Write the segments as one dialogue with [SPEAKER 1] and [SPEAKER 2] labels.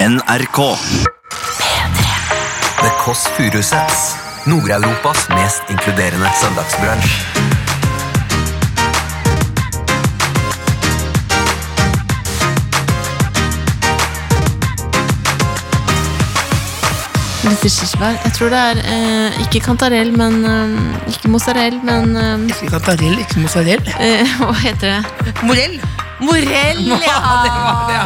[SPEAKER 1] NRK.
[SPEAKER 2] The Kåss Furuseths. Nord-Europas mest inkluderende søndagsbransj.
[SPEAKER 3] Dette kirsebær. Jeg tror det er eh, ikke kantarell, men eh, Ikke mozzarell, men eh,
[SPEAKER 4] Ikke kantarell, ikke mozzarell.
[SPEAKER 3] eh, Hva heter det?
[SPEAKER 4] Morell!
[SPEAKER 3] Morell,
[SPEAKER 4] Ja, det var det, ja.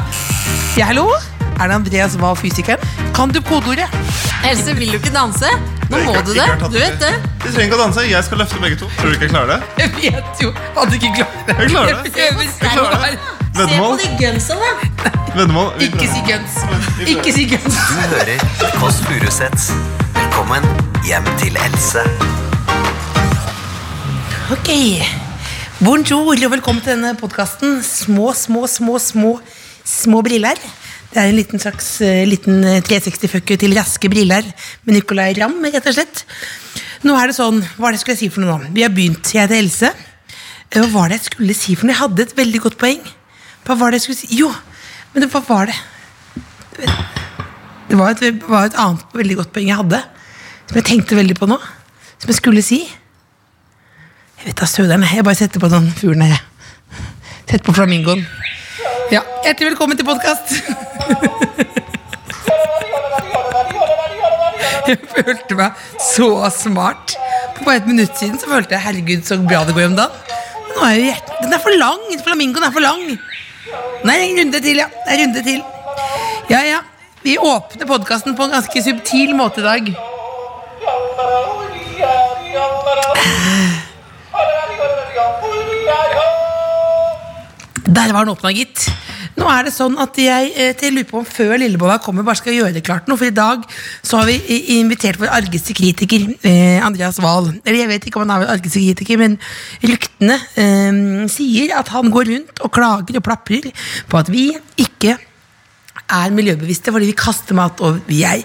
[SPEAKER 4] Ja, hallo? Er det Andreas Wahl, fysikeren? Kan du kodeordet?
[SPEAKER 3] Else, vil du ikke danse? Nå
[SPEAKER 5] Jeg
[SPEAKER 3] må
[SPEAKER 5] kan-
[SPEAKER 3] du
[SPEAKER 5] jeg
[SPEAKER 3] det.
[SPEAKER 5] har tatt
[SPEAKER 3] Du vet det.
[SPEAKER 5] Du trenger ikke å danse. Jeg skal løfte begge to. Tror du ikke jeg klarer det?
[SPEAKER 4] Jeg vet jo at du ikke klarer det.
[SPEAKER 5] Jeg klarer det.
[SPEAKER 4] Jeg prøver
[SPEAKER 5] Jeg klarer det.
[SPEAKER 4] sterkt.
[SPEAKER 3] Se på
[SPEAKER 5] Veddemål.
[SPEAKER 3] de gunsa, da.
[SPEAKER 5] Veddemål. Vi
[SPEAKER 4] Ikke si
[SPEAKER 5] prøver.
[SPEAKER 4] guns. Ikke si guns.
[SPEAKER 2] Du hører The Kåss Furuseths. Velkommen hjem til Else.
[SPEAKER 4] Ok. Bonjour og velkommen til denne podkasten. Små, små, små, små små briller. Det er en liten slags eh, liten 360-fucke til raske briller med Nicolay Ramm, rett og slett. Nå er det sånn, Hva er det jeg skulle si for noe nå? Vi har begynt. Jeg heter Else. Eh, Hva var det jeg skulle si for noe? Jeg hadde et veldig godt poeng. Hva var det jeg skulle si? Jo, men det, hva var det? Det var et, det var et annet veldig godt poeng jeg hadde, som jeg tenkte veldig på nå. Som jeg skulle si. Jeg vet da søderen, jeg bare setter på den fuglen her. jeg. Sett på flamingoen. Ja, hjertelig velkommen til podkast. Jeg følte meg så smart. For bare et minutt siden så følte jeg herregud så bra det går om dagen. Men nå er jo hjertet Den er for lang! Flamingoen er for lang. Nei, en runde til, ja. En runde til. Ja, ja. Vi åpner podkasten på en ganske subtil måte i dag. Der var den åpna, gitt. Nå er det sånn at jeg eh, til lurer på om før Lillebolla kommer, bare skal gjøre det klart noe. For i dag så har vi i- invitert vår argeste kritiker, eh, Andreas Wahl. Eller jeg vet ikke om han er vår argeste kritiker, men ryktene eh, sier at han går rundt og klager og plaprer på at vi ikke er miljøbevisste fordi vi kaster mat. Og vi er,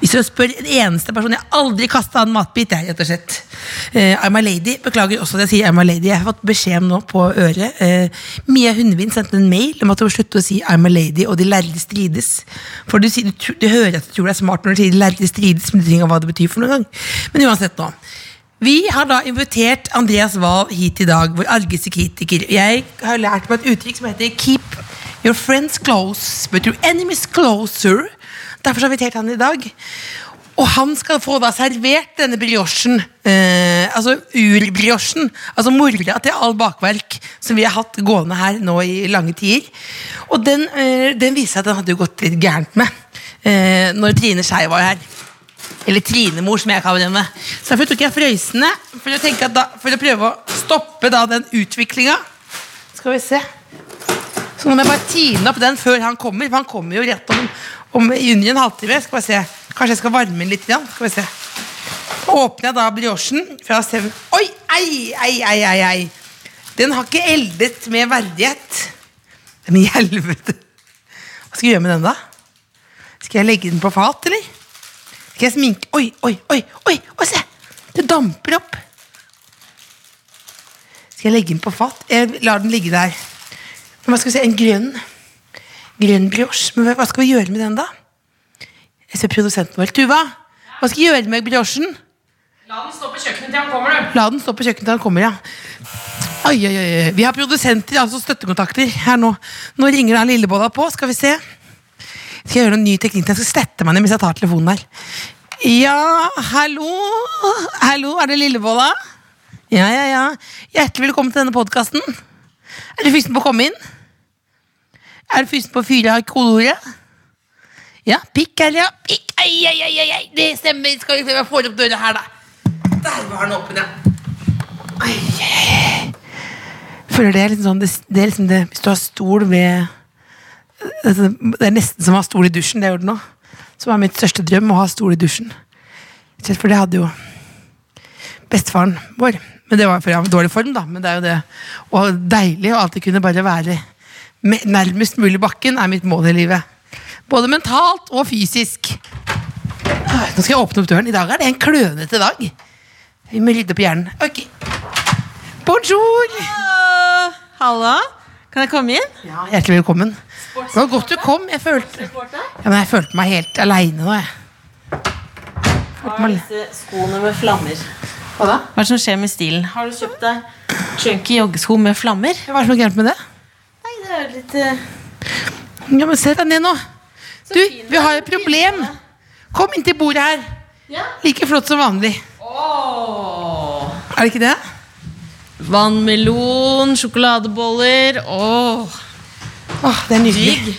[SPEAKER 4] hvis du spør en eneste person Jeg har aldri kasta en matbit, jeg, rett og slett. Eh, I'm a lady. Beklager også at jeg sier I'm a lady. Jeg har fått beskjed nå på øret. Eh, Mia Hundvin sendte en mail om at hun må slutte å si I'm a lady, og de lærde strides. For du, sier, du, tr- du hører at du tror det er smart når du sier de lærde strides, men du trenger hva det betyr for noen gang. Men uansett nå. Vi har da invitert Andreas Wahl hit i dag, vår argeste kritiker. Jeg har lært meg et uttrykk som heter 'keep your friends close, but your enemies closer'. Derfor har vi invitert han i dag. Og han skal få da servert denne briochen, eh, altså urbriochen, altså mora til all bakverk som vi har hatt gående her nå i lange tider. Og den, eh, den viser seg at den hadde jo gått litt gærent med eh, når Trine Skei var her. Eller Trinemor, som jeg kaller henne. Så derfor tok jeg frøysene for å, tenke at da, for å prøve å stoppe da den utviklinga. Skal vi se. Så nå må jeg bare tine opp den før han kommer. For han kommer jo rett om, om under en halvtime. Skal vi se. Kanskje jeg skal varme den litt. Igjen. Skal vi se. Så åpner jeg da briochen fra sev... Oi! Ei, ei, ei, ei, ei. Den har ikke eldet med verdighet. Men i helvete. Hva skal jeg gjøre med den, da? Skal jeg legge den på fat, eller? Skal jeg sminke Oi, oi, oi, oi, oi, se! Det damper opp. Skal jeg legge den på fat? Jeg lar den ligge der. Men hva skal vi se, En grønn Grønn brioche. Men hva- hva skal vi gjøre med den, da? Jeg ser produsenten vår. Tuva, hva skal jeg gjøre med briochen?
[SPEAKER 6] La den stå på kjøkkenet til han kommer, du.
[SPEAKER 4] La den stå på kjøkkenet til han kommer, ja. Oi, oi, oi, oi. Vi har produsenter, altså støttekontakter, her nå. Nå ringer da Lillebolla på, skal vi se. Skal jeg gjøre noen ny teknikk? Jeg skal stette meg ned mens jeg tar telefonen her. Ja, hallo? Hallo, er det Lillebolla? Ja, ja, ja. Hjertelig velkommen til denne podkasten. Er du fysen på å komme inn? Er du fysen på å fyre av kodeordet? Ja, pikk eller ja. Pikk, ei, ei, ei, ei, ei. Det stemmer. Skal vi få opp døra her, da? Der var den åpen, ja. Ai, eh. Føler det er litt sånn det, det er liksom det, Hvis du har stol ved altså, Det er nesten som å ha stol i dusjen. Det gjør det nå. Som er mitt største drøm, å ha stol i dusjen. Selv For det hadde jo bestefaren vår. Men det var for jeg var i dårlig form, da. Men det er jo det. Og deilig å alltid kunne bare være me- nærmest mulig bakken, er mitt mål i livet. Både mentalt og fysisk. Ah, Nå skal jeg åpne opp døren. I dag er det en klønete dag. Vi må rydde opp i hjernen. Ok. Bonjour!
[SPEAKER 3] Hallo? Kan jeg komme inn?
[SPEAKER 4] Ja, hjertelig velkommen. Det var godt du kom. Jeg følte, ja, men jeg følte meg helt aleine nå, jeg.
[SPEAKER 1] Har disse skoene med flammer.
[SPEAKER 4] Hva da?
[SPEAKER 1] Hva er det som skjer med stilen? Har du kjøpt deg chunky joggesko med flammer?
[SPEAKER 4] Hva er det som er gærent med det?
[SPEAKER 1] Nei, det er jo litt eh,
[SPEAKER 4] Ja, men Se deg ned nå. Du, vi har et problem. Kom inn til bordet her.
[SPEAKER 1] Ja.
[SPEAKER 4] Like flott som vanlig. Er det ikke det?
[SPEAKER 3] Vannmelon, sjokoladeboller Åh,
[SPEAKER 4] Åh, det er nydelig.
[SPEAKER 3] digg. Digg.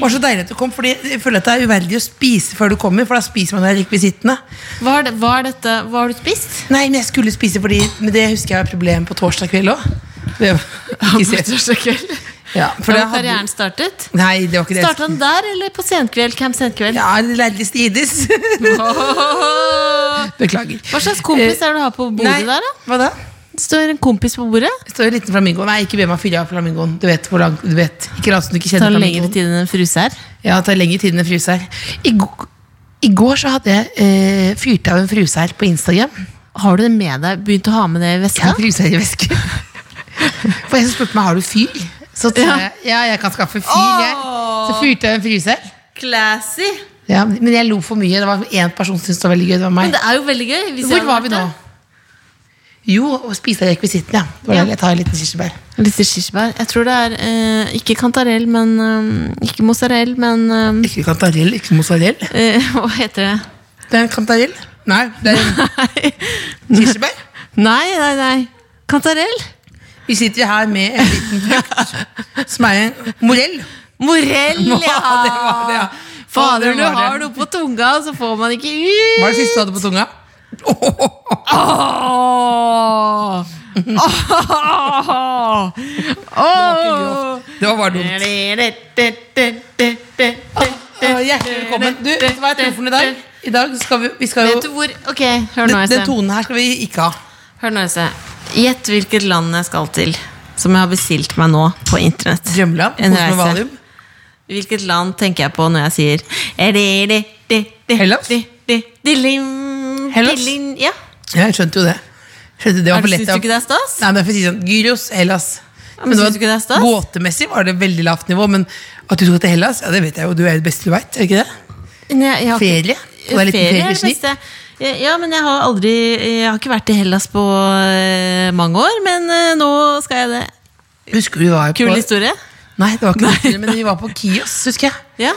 [SPEAKER 4] Det var så deilig at du kom, fordi jeg føler at det er uverdig å spise før du kommer. For da spiser man jo rekvisittene.
[SPEAKER 3] Hva er, det, hva er dette? Hva har du spist?
[SPEAKER 4] Nei, men jeg skulle spise fordi Men det husker jeg var et problem på torsdag kveld òg. Ja, for det
[SPEAKER 3] Har
[SPEAKER 4] hadde
[SPEAKER 3] karrieren startet?
[SPEAKER 4] Nei, det var ikke det.
[SPEAKER 3] Starta den der, eller på senkveld? Camp senkveld?
[SPEAKER 4] Ja, leilig stides. Beklager.
[SPEAKER 3] Hva slags kompis er det du har på bordet
[SPEAKER 4] Eh, Nei,
[SPEAKER 3] der, da?
[SPEAKER 4] Hva da?
[SPEAKER 3] Det står en kompis på bordet.
[SPEAKER 4] Det står en liten flamingo. Nei, ikke be meg fylle av flamingoen. Du vet hvor lang, du vet. Ikke lat som du ikke
[SPEAKER 3] Det tar
[SPEAKER 4] kjenner
[SPEAKER 3] lengre
[SPEAKER 4] flamingoen.
[SPEAKER 3] tid enn en fruse her.
[SPEAKER 4] Ja, det tar lengre tid enn en fruse her. I, go- I går så hadde jeg eh, fyrt av en fruse her på Instagram.
[SPEAKER 3] Har du det med deg? Begynt å ha med det i
[SPEAKER 4] Jeg
[SPEAKER 3] veska?
[SPEAKER 4] har fruse her i vesken. For en som spurte meg har du fyr, så sa jeg ja, jeg kan skaffe fyr. Jeg. Så fyrte jeg en fruse her.
[SPEAKER 3] Classy!
[SPEAKER 4] Ja, men jeg lo for mye. Det var én person som syntes det var veldig gøy. Det var meg.
[SPEAKER 3] Men det er jo veldig gøy. hvis jeg
[SPEAKER 4] Hvor
[SPEAKER 3] hadde
[SPEAKER 4] var
[SPEAKER 3] vært
[SPEAKER 4] vi nå?
[SPEAKER 3] der.
[SPEAKER 4] Jo, og spiste rekvisitten, ja. Det var
[SPEAKER 3] Ja.
[SPEAKER 4] deilig. Jeg tar en liten kirsebær.
[SPEAKER 3] Litt kirsebær. Jeg tror det er eh, ikke kantarell, men eh, Ikke mozzarell, men eh,
[SPEAKER 4] Ikke kantarell, ikke mozzarell.
[SPEAKER 3] eh, Hva heter det?
[SPEAKER 4] Det er en kantarell. Nei, det er en kirsebær.
[SPEAKER 3] Nei, nei, nei. Kantarell?
[SPEAKER 4] Vi sitter her med en liten frukt som er en morell.
[SPEAKER 3] Morell, ja!
[SPEAKER 4] Ja, det var det, ja.
[SPEAKER 3] Fader,
[SPEAKER 4] Ja, det
[SPEAKER 3] du
[SPEAKER 4] var det.
[SPEAKER 3] har noe på tunga, så får man ikke ut!
[SPEAKER 4] Hva er det siste du hadde på tunga?
[SPEAKER 3] Åh! Åh! Åh!
[SPEAKER 4] Det var bare dumt. Åh, Hjertelig velkommen. Du, vet du hva er telefonen i dag? I dag skal vi, vi skal jo
[SPEAKER 3] Vet du hvor Ok, hør nå,
[SPEAKER 4] den, den
[SPEAKER 3] Else.
[SPEAKER 4] tonen her skal vi ikke ha.
[SPEAKER 3] Hør nå, Else. Gjett hvilket land jeg skal til, som jeg har bestilt meg nå på internett.
[SPEAKER 4] Drømmeland.
[SPEAKER 3] En
[SPEAKER 4] kos med
[SPEAKER 3] reise.
[SPEAKER 4] valium.
[SPEAKER 3] Hvilket land tenker jeg på når jeg sier
[SPEAKER 4] Hellas?
[SPEAKER 3] Hellas?
[SPEAKER 4] Hellas?
[SPEAKER 3] Ja.
[SPEAKER 4] Ja, jeg skjønte jo det. Skjønte det var
[SPEAKER 3] Er
[SPEAKER 4] for
[SPEAKER 3] det-
[SPEAKER 4] lett.
[SPEAKER 3] Syns du ikke det er stas?
[SPEAKER 4] Nei, men jeg får si sånn, Gyros, Hellas.
[SPEAKER 3] men
[SPEAKER 4] det
[SPEAKER 3] synes du ikke det er stas?
[SPEAKER 4] Båtemessig var det veldig lavt nivå, men at du dro til Hellas, ja, det vet jeg jo. Du er det beste du veit, er det ikke det?
[SPEAKER 3] Nei, jeg har ikke-
[SPEAKER 4] Ferie. Det var litt
[SPEAKER 3] Ferie er det
[SPEAKER 4] feriesnitt.
[SPEAKER 3] beste. Ja, men jeg har aldri Jeg har ikke vært i Hellas på eh, mange år, men eh, nå skal jeg det.
[SPEAKER 4] Husker du vi var jo på
[SPEAKER 3] Kul historie.
[SPEAKER 4] Nei, det var ikke Nei. men vi var på Kios, husker jeg.
[SPEAKER 3] Ja.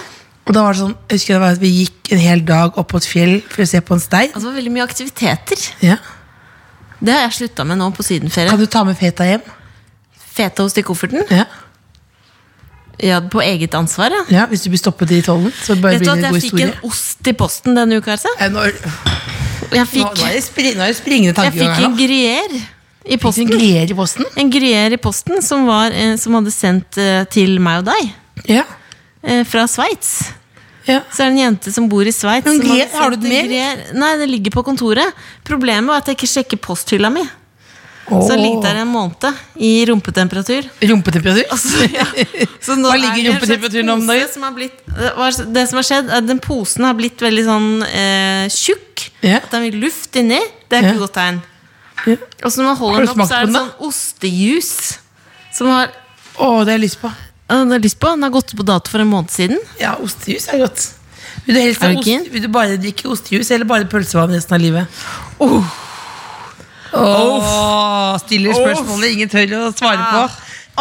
[SPEAKER 4] Og da var det sånn, jeg husker det var at vi gikk en hel dag opp på et fjell for å se på en stein.
[SPEAKER 3] Altså, det var veldig mye aktiviteter.
[SPEAKER 4] Ja.
[SPEAKER 3] Det har jeg slutta med nå på sydenferie.
[SPEAKER 4] Kan du ta med feta hjem?
[SPEAKER 3] Fetaost i kofferten.
[SPEAKER 4] Ja.
[SPEAKER 3] Ja, på eget ansvar, ja.
[SPEAKER 4] ja hvis du blir stoppet i tollen, så bare
[SPEAKER 3] Vet du
[SPEAKER 4] blir
[SPEAKER 3] at
[SPEAKER 4] det en
[SPEAKER 3] jeg
[SPEAKER 4] god
[SPEAKER 3] fikk
[SPEAKER 4] historie.
[SPEAKER 3] en ost i posten denne uka, Else?
[SPEAKER 4] Eh, Nå,
[SPEAKER 3] Jeg
[SPEAKER 4] nå,
[SPEAKER 3] fikk,
[SPEAKER 4] nå, er det spri, nå er det springende
[SPEAKER 3] jeg fikk
[SPEAKER 4] tankegang
[SPEAKER 3] en
[SPEAKER 4] her nå.
[SPEAKER 3] gruyère i posten.
[SPEAKER 4] Greier i posten?
[SPEAKER 3] En gruyère i posten som, var, eh, som hadde sendt eh, til meg og deg
[SPEAKER 4] Ja.
[SPEAKER 3] eh, fra Sveits.
[SPEAKER 4] ja.
[SPEAKER 3] Så er det en jente som bor i Sveits.
[SPEAKER 4] Men
[SPEAKER 3] som
[SPEAKER 4] gre-
[SPEAKER 3] hadde
[SPEAKER 4] har du
[SPEAKER 3] sendt
[SPEAKER 4] det med,
[SPEAKER 3] en gre- Nei, det ligger på kontoret. Problemet var at jeg ikke sjekker posthylla mi. Så den ligget der en måned i rumpetemperatur.
[SPEAKER 4] Rumpetemperatur?
[SPEAKER 3] Så nå
[SPEAKER 4] Hva
[SPEAKER 3] er
[SPEAKER 4] ligger
[SPEAKER 3] det en slags
[SPEAKER 4] rumpetemperaturen om
[SPEAKER 3] pose
[SPEAKER 4] dagen?
[SPEAKER 3] som har blitt, det, var, det som har skjedd, er at den posen har blitt veldig sånn eh, tjukk.
[SPEAKER 4] Ja.
[SPEAKER 3] At den vil luft inni. Det er ikke
[SPEAKER 4] Ja.
[SPEAKER 3] et godt tegn.
[SPEAKER 4] Ja.
[SPEAKER 3] Og så når man
[SPEAKER 4] Har
[SPEAKER 3] holder
[SPEAKER 4] du
[SPEAKER 3] den opp,
[SPEAKER 4] smakt
[SPEAKER 3] så
[SPEAKER 4] på
[SPEAKER 3] er det
[SPEAKER 4] den,
[SPEAKER 3] sånn ostejus. Som har,
[SPEAKER 4] Å, det har jeg lyst på.
[SPEAKER 3] Å, den har lyst på. Den har gått ut på dato for en måned siden.
[SPEAKER 4] Ja, ostejus er godt. Vil du, helst
[SPEAKER 3] Er
[SPEAKER 4] ha
[SPEAKER 3] du
[SPEAKER 4] ost,
[SPEAKER 3] keen?
[SPEAKER 4] vil du bare drikke ostejus eller bare pølsevann resten av livet?
[SPEAKER 3] Oh.
[SPEAKER 4] Åh, Stiller spørsmålet ingen tør å svare på.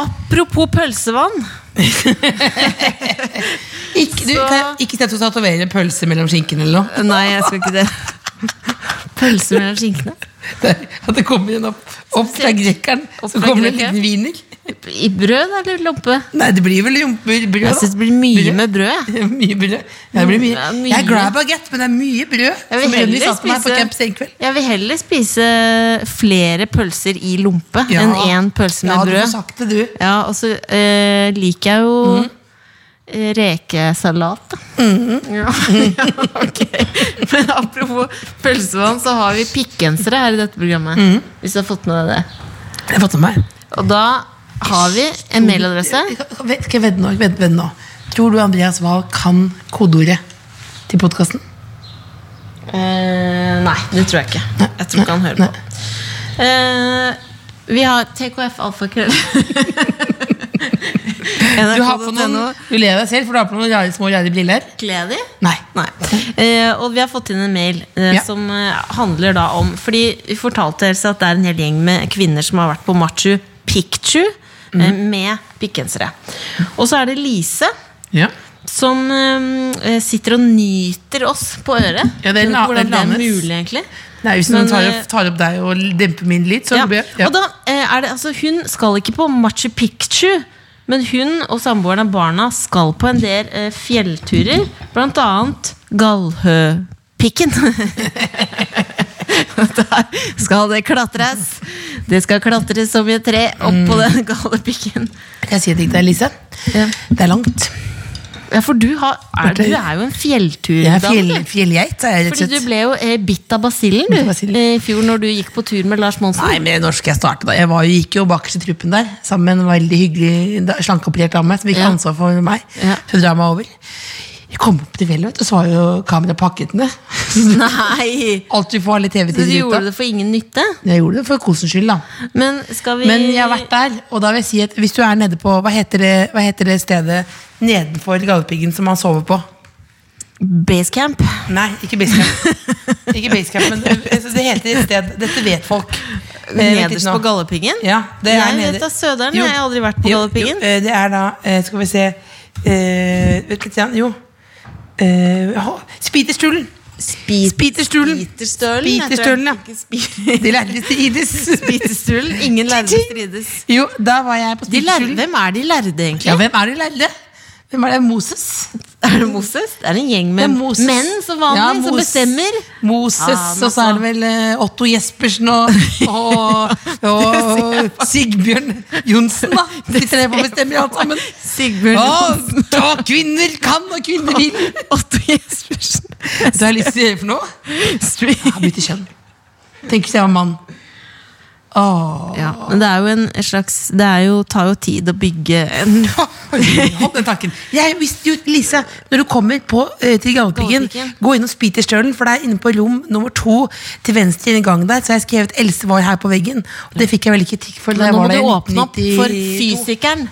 [SPEAKER 3] Apropos pølsevann.
[SPEAKER 4] Ikke, du, kan jeg, ikke si at du tatoverer en pølse mellom skinkene eller noe.
[SPEAKER 3] Nei, jeg skal ikke det. Pølse mellom skinkene.
[SPEAKER 4] At det kommer en opp, opp fra grekeren,
[SPEAKER 3] Opp
[SPEAKER 4] så
[SPEAKER 3] fra
[SPEAKER 4] kommer det en
[SPEAKER 3] grekeren.
[SPEAKER 4] liten wiener.
[SPEAKER 3] I brød eller lompe?
[SPEAKER 4] Nei, det blir vel jomp- brød,
[SPEAKER 3] Jeg syns
[SPEAKER 4] da.
[SPEAKER 3] det blir mye
[SPEAKER 4] Brød?
[SPEAKER 3] med brød. jeg.
[SPEAKER 4] Mye brød. Ja, det blir
[SPEAKER 3] Det
[SPEAKER 4] mye.
[SPEAKER 3] er mye.
[SPEAKER 4] Jeg er glad i baguette, men det er mye
[SPEAKER 3] Jeg
[SPEAKER 4] brød.
[SPEAKER 3] vil
[SPEAKER 4] Som Ronny
[SPEAKER 3] heller
[SPEAKER 4] sa til meg på
[SPEAKER 3] spise-
[SPEAKER 4] camp senkveld.
[SPEAKER 3] Jeg vil heller spise flere pølser i lompe
[SPEAKER 4] Ja.
[SPEAKER 3] enn én pølse med
[SPEAKER 4] ja, du får
[SPEAKER 3] brød.
[SPEAKER 4] sagt det, du.
[SPEAKER 3] Ja, og så eh, liker jeg jo eh, rekesalat. da. Ja, ja, ok. Men apropos pølsevann, så har vi pikkensere her i dette programmet. Hvis du har fått med deg det.
[SPEAKER 4] Jeg har fått med meg.
[SPEAKER 3] Og da har vi en mailadresse.
[SPEAKER 4] Skal jeg vedde nå? Vent, vent nå. Tror du Andreas Wahl kan kodeordet til podkasten?
[SPEAKER 3] Eh, nei, det tror jeg ikke. Jeg tror ikke han hører på. Eh, vi har TKF alfakrøll
[SPEAKER 4] Du har på noen
[SPEAKER 3] NRK.no.
[SPEAKER 4] Du ler deg selv, for du har på noen rare, små rare briller.
[SPEAKER 3] Kledi?
[SPEAKER 4] Nei.
[SPEAKER 3] Nei. Eh, og vi har fått inn en mail eh,
[SPEAKER 4] Ja.
[SPEAKER 3] som eh, handler da om Fordi vi fortalte Else at det er en hel gjeng med kvinner som har vært på Machu Picchu eh,
[SPEAKER 4] Mm.
[SPEAKER 3] med pikkensere. Og så er det Lise
[SPEAKER 4] Ja.
[SPEAKER 3] som eh, sitter og nyter oss på øret.
[SPEAKER 4] Ja, det er la-
[SPEAKER 3] Hvordan det er
[SPEAKER 4] lames.
[SPEAKER 3] mulig, egentlig.
[SPEAKER 4] Nei, hvis noen
[SPEAKER 3] Men,
[SPEAKER 4] tar,
[SPEAKER 3] eh,
[SPEAKER 4] opp- tar opp deg og demper min litt, så
[SPEAKER 3] Ja.
[SPEAKER 4] blir jeg ja.
[SPEAKER 3] Og da eh, er det, altså, Hun skal ikke på Machu Picchu, men hun og samboeren og barna skal på en del eh, fjellturer. Blant annet Gallhøpikken. Der skal det klatres. Det skal klatres som i et tre opp på
[SPEAKER 4] Mm.
[SPEAKER 3] den gale pikken.
[SPEAKER 4] Kan jeg si en ting til deg, Lise?
[SPEAKER 3] Ja.
[SPEAKER 4] Det er langt.
[SPEAKER 3] Ja, for du, har, er, du er jo en fjelltur.
[SPEAKER 4] Jeg er
[SPEAKER 3] Daniel.
[SPEAKER 4] fjell, fjellgeit. Er jeg rett og
[SPEAKER 3] Fordi du
[SPEAKER 4] slett.
[SPEAKER 3] ble jo eh, bitt av basillen du,
[SPEAKER 4] Bitt av basillen.
[SPEAKER 3] eh, i fjor når du gikk på tur med Lars Monsen.
[SPEAKER 4] Nei, men når skal jeg starte da? Jeg var jo, gikk jo bakerst i truppen der, sammen med en veldig hyggelig da- slankeoperert dame som fikk
[SPEAKER 3] Ja.
[SPEAKER 4] ansvar for meg.
[SPEAKER 3] Ja.
[SPEAKER 4] Til å dra meg over. Jeg kom opp til fjellet, vet du, så var jo kameraet pakket ned.
[SPEAKER 3] Nei.
[SPEAKER 4] Alt vi får, alle
[SPEAKER 3] Så du
[SPEAKER 4] TV-tider
[SPEAKER 3] gjorde
[SPEAKER 4] ute.
[SPEAKER 3] det for ingen nytte?
[SPEAKER 4] Jeg gjorde det for kosens skyld, da.
[SPEAKER 3] Men skal vi
[SPEAKER 4] Men jeg har vært der, og da vil jeg si at hvis du er nede på Hva heter det, hva heter det stedet nedenfor Galdhøpiggen som man sover på?
[SPEAKER 3] Basecamp.
[SPEAKER 4] Nei, ikke Basecamp. ikke Basecamp, men eh, altså, det heter et sted Dette vet folk. Eh, vent litt
[SPEAKER 3] Nederst
[SPEAKER 4] nå.
[SPEAKER 3] på Galdhøpiggen?
[SPEAKER 4] Ja, det er
[SPEAKER 3] Jeg
[SPEAKER 4] nede.
[SPEAKER 3] vet da søderen, jeg har aldri vært på
[SPEAKER 4] Jo,
[SPEAKER 3] Galdhøpiggen.
[SPEAKER 4] jo, eh, Det er da, eh, skal vi se eh, Vent litt, igjen, jo. Eh, ha- Spiterstulen! Spiterstulen.
[SPEAKER 3] Spiterstølen.
[SPEAKER 4] Spiterstølen, ja. De lærde strides.
[SPEAKER 3] Spiterstølen. Ingen lærde strides.
[SPEAKER 4] Jo, da var jeg på
[SPEAKER 3] De lærde,
[SPEAKER 4] Spiterstulen.
[SPEAKER 3] hvem er de lærde, egentlig?
[SPEAKER 4] Ja, hvem er de lærde? Hvem er det? Moses?
[SPEAKER 3] Er det Moses? Det er en gjeng
[SPEAKER 4] Det er
[SPEAKER 3] med
[SPEAKER 4] Moses.
[SPEAKER 3] menn som vanlig,
[SPEAKER 4] Ja,
[SPEAKER 3] som
[SPEAKER 4] Mos-
[SPEAKER 3] bestemmer.
[SPEAKER 4] Moses,
[SPEAKER 3] Ja, men
[SPEAKER 4] og så er det
[SPEAKER 3] altså.
[SPEAKER 4] vel eh, Otto Jespersen og, og, og Sigbjørn Johnsen, da. De tre må bestemme alt sammen.
[SPEAKER 3] Sigbjørn
[SPEAKER 4] Å, ta kvinner kan og kvinner vil!
[SPEAKER 3] Otto Jespersen.
[SPEAKER 4] Du har lyst til å gjøre for noe? Ja, bytte kjønn. Tenk hvis jeg var mann. Åh.
[SPEAKER 3] Ja, men det er jo en slags Det er jo, tar jo tid å bygge en
[SPEAKER 4] Hold den tanken. Jeg visste jo, Lise, når du kommer på, eh, til Galdhøpiggen,
[SPEAKER 3] Galdhøpiggen.
[SPEAKER 4] gå innom Spiterstølen, for det er inne på rom nummer to til venstre i den gangen der. Så har jeg skrevet 'Else var her på veggen'. Og det fikk jeg vel ikke tikk for. da
[SPEAKER 3] Men
[SPEAKER 4] jeg
[SPEAKER 3] nå
[SPEAKER 4] var
[SPEAKER 3] må du
[SPEAKER 4] der i
[SPEAKER 3] åpne opp for
[SPEAKER 4] 1992.
[SPEAKER 3] fysikeren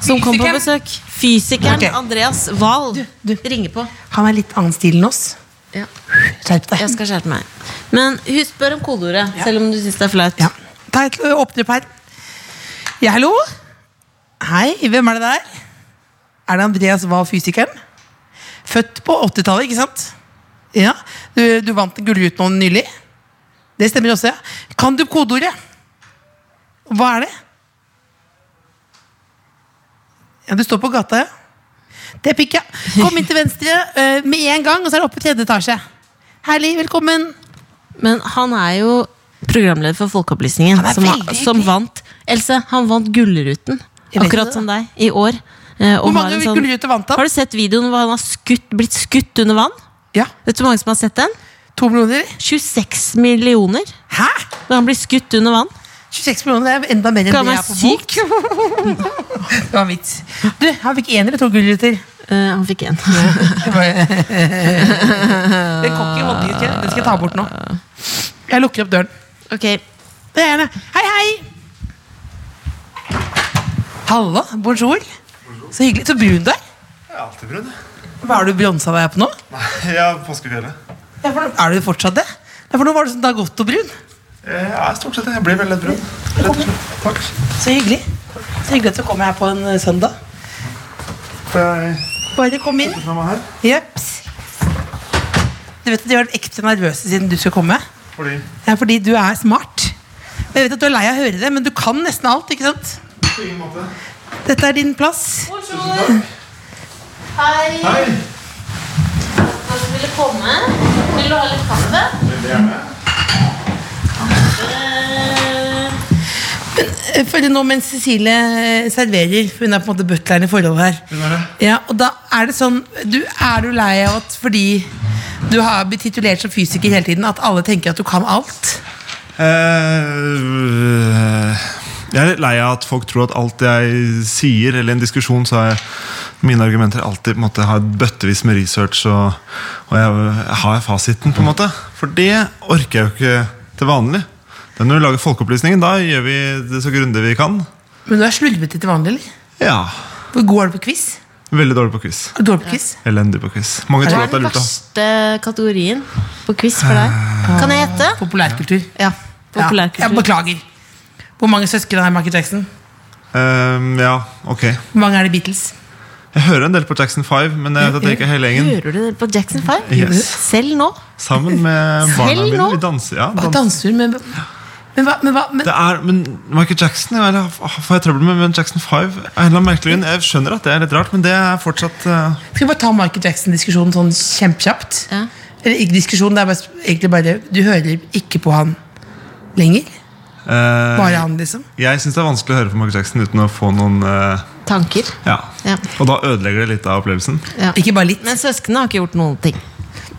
[SPEAKER 3] som kom på
[SPEAKER 4] Fysikeren?
[SPEAKER 3] besøk. Fysikeren
[SPEAKER 4] Ok.
[SPEAKER 3] Andreas Wahl.
[SPEAKER 4] du.
[SPEAKER 3] Ringer på.
[SPEAKER 4] Han er litt annen stil enn oss. Skjerp deg.
[SPEAKER 3] Jeg skal skjerpe meg. Men husk spør om kodeordet, selv om du syns det er flaut.
[SPEAKER 4] Ja. Ta et ø, åpne opp her. Ja, hallo? Hei, hvem er det der? Er det Andreas Wahl, fysikeren? Født på 80-tallet, ikke sant? Ja, du, du vant en gullrute nå nylig? Det stemmer også, ja. Kan du kodeordet? Hva er det? Ja, du står på gata, ja. Det er pikk, ja. Kom inn til venstre ø, med en gang, og så er det oppe i tredje etasje. Herlig, velkommen.
[SPEAKER 3] Men han er jo programleder for Folkeopplysningen,
[SPEAKER 4] Han er
[SPEAKER 3] som, har-
[SPEAKER 4] veldig hyggelig.
[SPEAKER 3] som vant Else, han vant Gullruten,
[SPEAKER 4] Jeg vet
[SPEAKER 3] akkurat
[SPEAKER 4] det.
[SPEAKER 3] som deg, i år. Eh, og
[SPEAKER 4] Hvor
[SPEAKER 3] har
[SPEAKER 4] mange
[SPEAKER 3] en
[SPEAKER 4] gullruter vant han?
[SPEAKER 3] Har du sett videoen hvor han har skutt, blitt skutt under vann?
[SPEAKER 4] Ja,
[SPEAKER 3] Vet du hvor mange som har sett den?
[SPEAKER 4] to millioner.
[SPEAKER 3] 26 millioner
[SPEAKER 4] Hæ?
[SPEAKER 3] da han blir skutt under vann.
[SPEAKER 4] 26 millioner det er enda mer enn
[SPEAKER 3] Kan
[SPEAKER 4] det
[SPEAKER 3] være
[SPEAKER 4] jeg er på bok. det var en vits. Du, han fikk én eller to gulrøtter.
[SPEAKER 3] Eh, han fikk én.
[SPEAKER 4] Det var- Den cocky holdningen skal jeg- den skal jeg ta bort nå. Jeg lukker opp døren.
[SPEAKER 3] Ok,
[SPEAKER 4] Det er det. Hei, hei! Hallo, bonjour. Så hyggelig. Så brun du er.
[SPEAKER 5] Jeg har alltid prøvd.
[SPEAKER 4] Hva er du bronsa deg på nå?
[SPEAKER 5] Ja, påskefjellet.
[SPEAKER 4] Ja, for nå- Er du fortsatt det? Ja, for nå var du sånn Dagotto-brun.
[SPEAKER 5] Jeg er stort sett det. Jeg blir veldig lett brun. Rett og slett. Takk.
[SPEAKER 4] Så hyggelig. Så hyggelig at du kommer her på en eh, søndag.
[SPEAKER 5] Får jeg
[SPEAKER 4] Bare kom inn.
[SPEAKER 5] fra meg her?
[SPEAKER 4] Jeps. Du vet at de var ekstra nervøse siden du skulle komme?
[SPEAKER 5] Fordi
[SPEAKER 4] Ja, fordi du er smart. Og jeg vet at du er lei av å høre det, men du kan nesten alt, ikke sant?
[SPEAKER 5] på ingen måte.
[SPEAKER 4] Dette er din plass.
[SPEAKER 3] Hei!
[SPEAKER 5] Hei!
[SPEAKER 3] Takk for at du ville komme. Vil du ha litt kaffe?
[SPEAKER 5] Veldig gjerne.
[SPEAKER 3] Eh,
[SPEAKER 4] Eh, For nå mens Cecilie eh, serverer, for hun er på en måte butleren i forholdet her.
[SPEAKER 5] Hun er det.
[SPEAKER 4] Ja, og da er det sånn du, Er du lei av at fordi du har blitt titulert som fysiker hele tiden, at alle tenker at du kan alt?
[SPEAKER 5] Eh, jeg er litt lei av at folk tror at alt jeg sier, eller en diskusjon, så har jeg mine argumenter alltid på en måte, har bøttevis med research, og, og jeg, har fasiten, på en måte. For det orker jeg jo ikke til vanlig. Det er når vi lager Folkeopplysningen, da gjør vi det så grundig vi kan.
[SPEAKER 4] Men du er slurvete til vanlig, eller?
[SPEAKER 5] Ja.
[SPEAKER 4] Hvor god er du på quiz?
[SPEAKER 5] Veldig dårlig på quiz.
[SPEAKER 4] Er du dårlig på quiz?
[SPEAKER 5] Elendig på quiz. Mange tror
[SPEAKER 3] Hva er
[SPEAKER 5] at det
[SPEAKER 3] den
[SPEAKER 5] er lurt å
[SPEAKER 3] verste kategorien på quiz for deg?
[SPEAKER 4] Ah.
[SPEAKER 3] Kan jeg gjette?
[SPEAKER 4] Populærkultur.
[SPEAKER 3] Ja.
[SPEAKER 4] Ja, jeg
[SPEAKER 3] Populærkultur.
[SPEAKER 4] beklager. Hvor mange søsken har Michael Jackson?
[SPEAKER 5] Ehm, Ja, ok.
[SPEAKER 4] Hvor mange er det Beatles?
[SPEAKER 5] Jeg hører en del på Jackson 5, men jeg vet at det ikke er hele gjengen.
[SPEAKER 3] Hører du det på Jackson 5?
[SPEAKER 5] Yes.
[SPEAKER 3] Selv nå?
[SPEAKER 5] Sammen med barna
[SPEAKER 3] Selv
[SPEAKER 5] mine.
[SPEAKER 3] nå?
[SPEAKER 5] Vi danser. Ja,
[SPEAKER 4] Hva
[SPEAKER 5] dans.
[SPEAKER 4] danser hun med? Men hva, men hva men,
[SPEAKER 5] Det er, men Michael Jackson jeg vet ikke, får jeg trøbbel med, men Jackson 5 er en eller annen merkelig grunn. Jeg skjønner at det er litt rart, men det er fortsatt eh,
[SPEAKER 4] Skal vi bare ta Michael Jackson-diskusjonen sånn kjempekjapt?
[SPEAKER 3] Ja.
[SPEAKER 4] Eller ikke diskusjon, det er bare, egentlig bare Du hører ikke på han lenger?
[SPEAKER 5] eh,
[SPEAKER 4] Bare han, liksom?
[SPEAKER 5] Jeg syns det er vanskelig å høre på Michael Jackson uten å få noen eh,
[SPEAKER 3] Tanker?
[SPEAKER 5] ja.
[SPEAKER 3] Ja.
[SPEAKER 5] Og da ødelegger det litt av opplevelsen.
[SPEAKER 3] Ja.
[SPEAKER 4] Ikke bare litt?
[SPEAKER 3] Men søsknene har ikke gjort noen ting.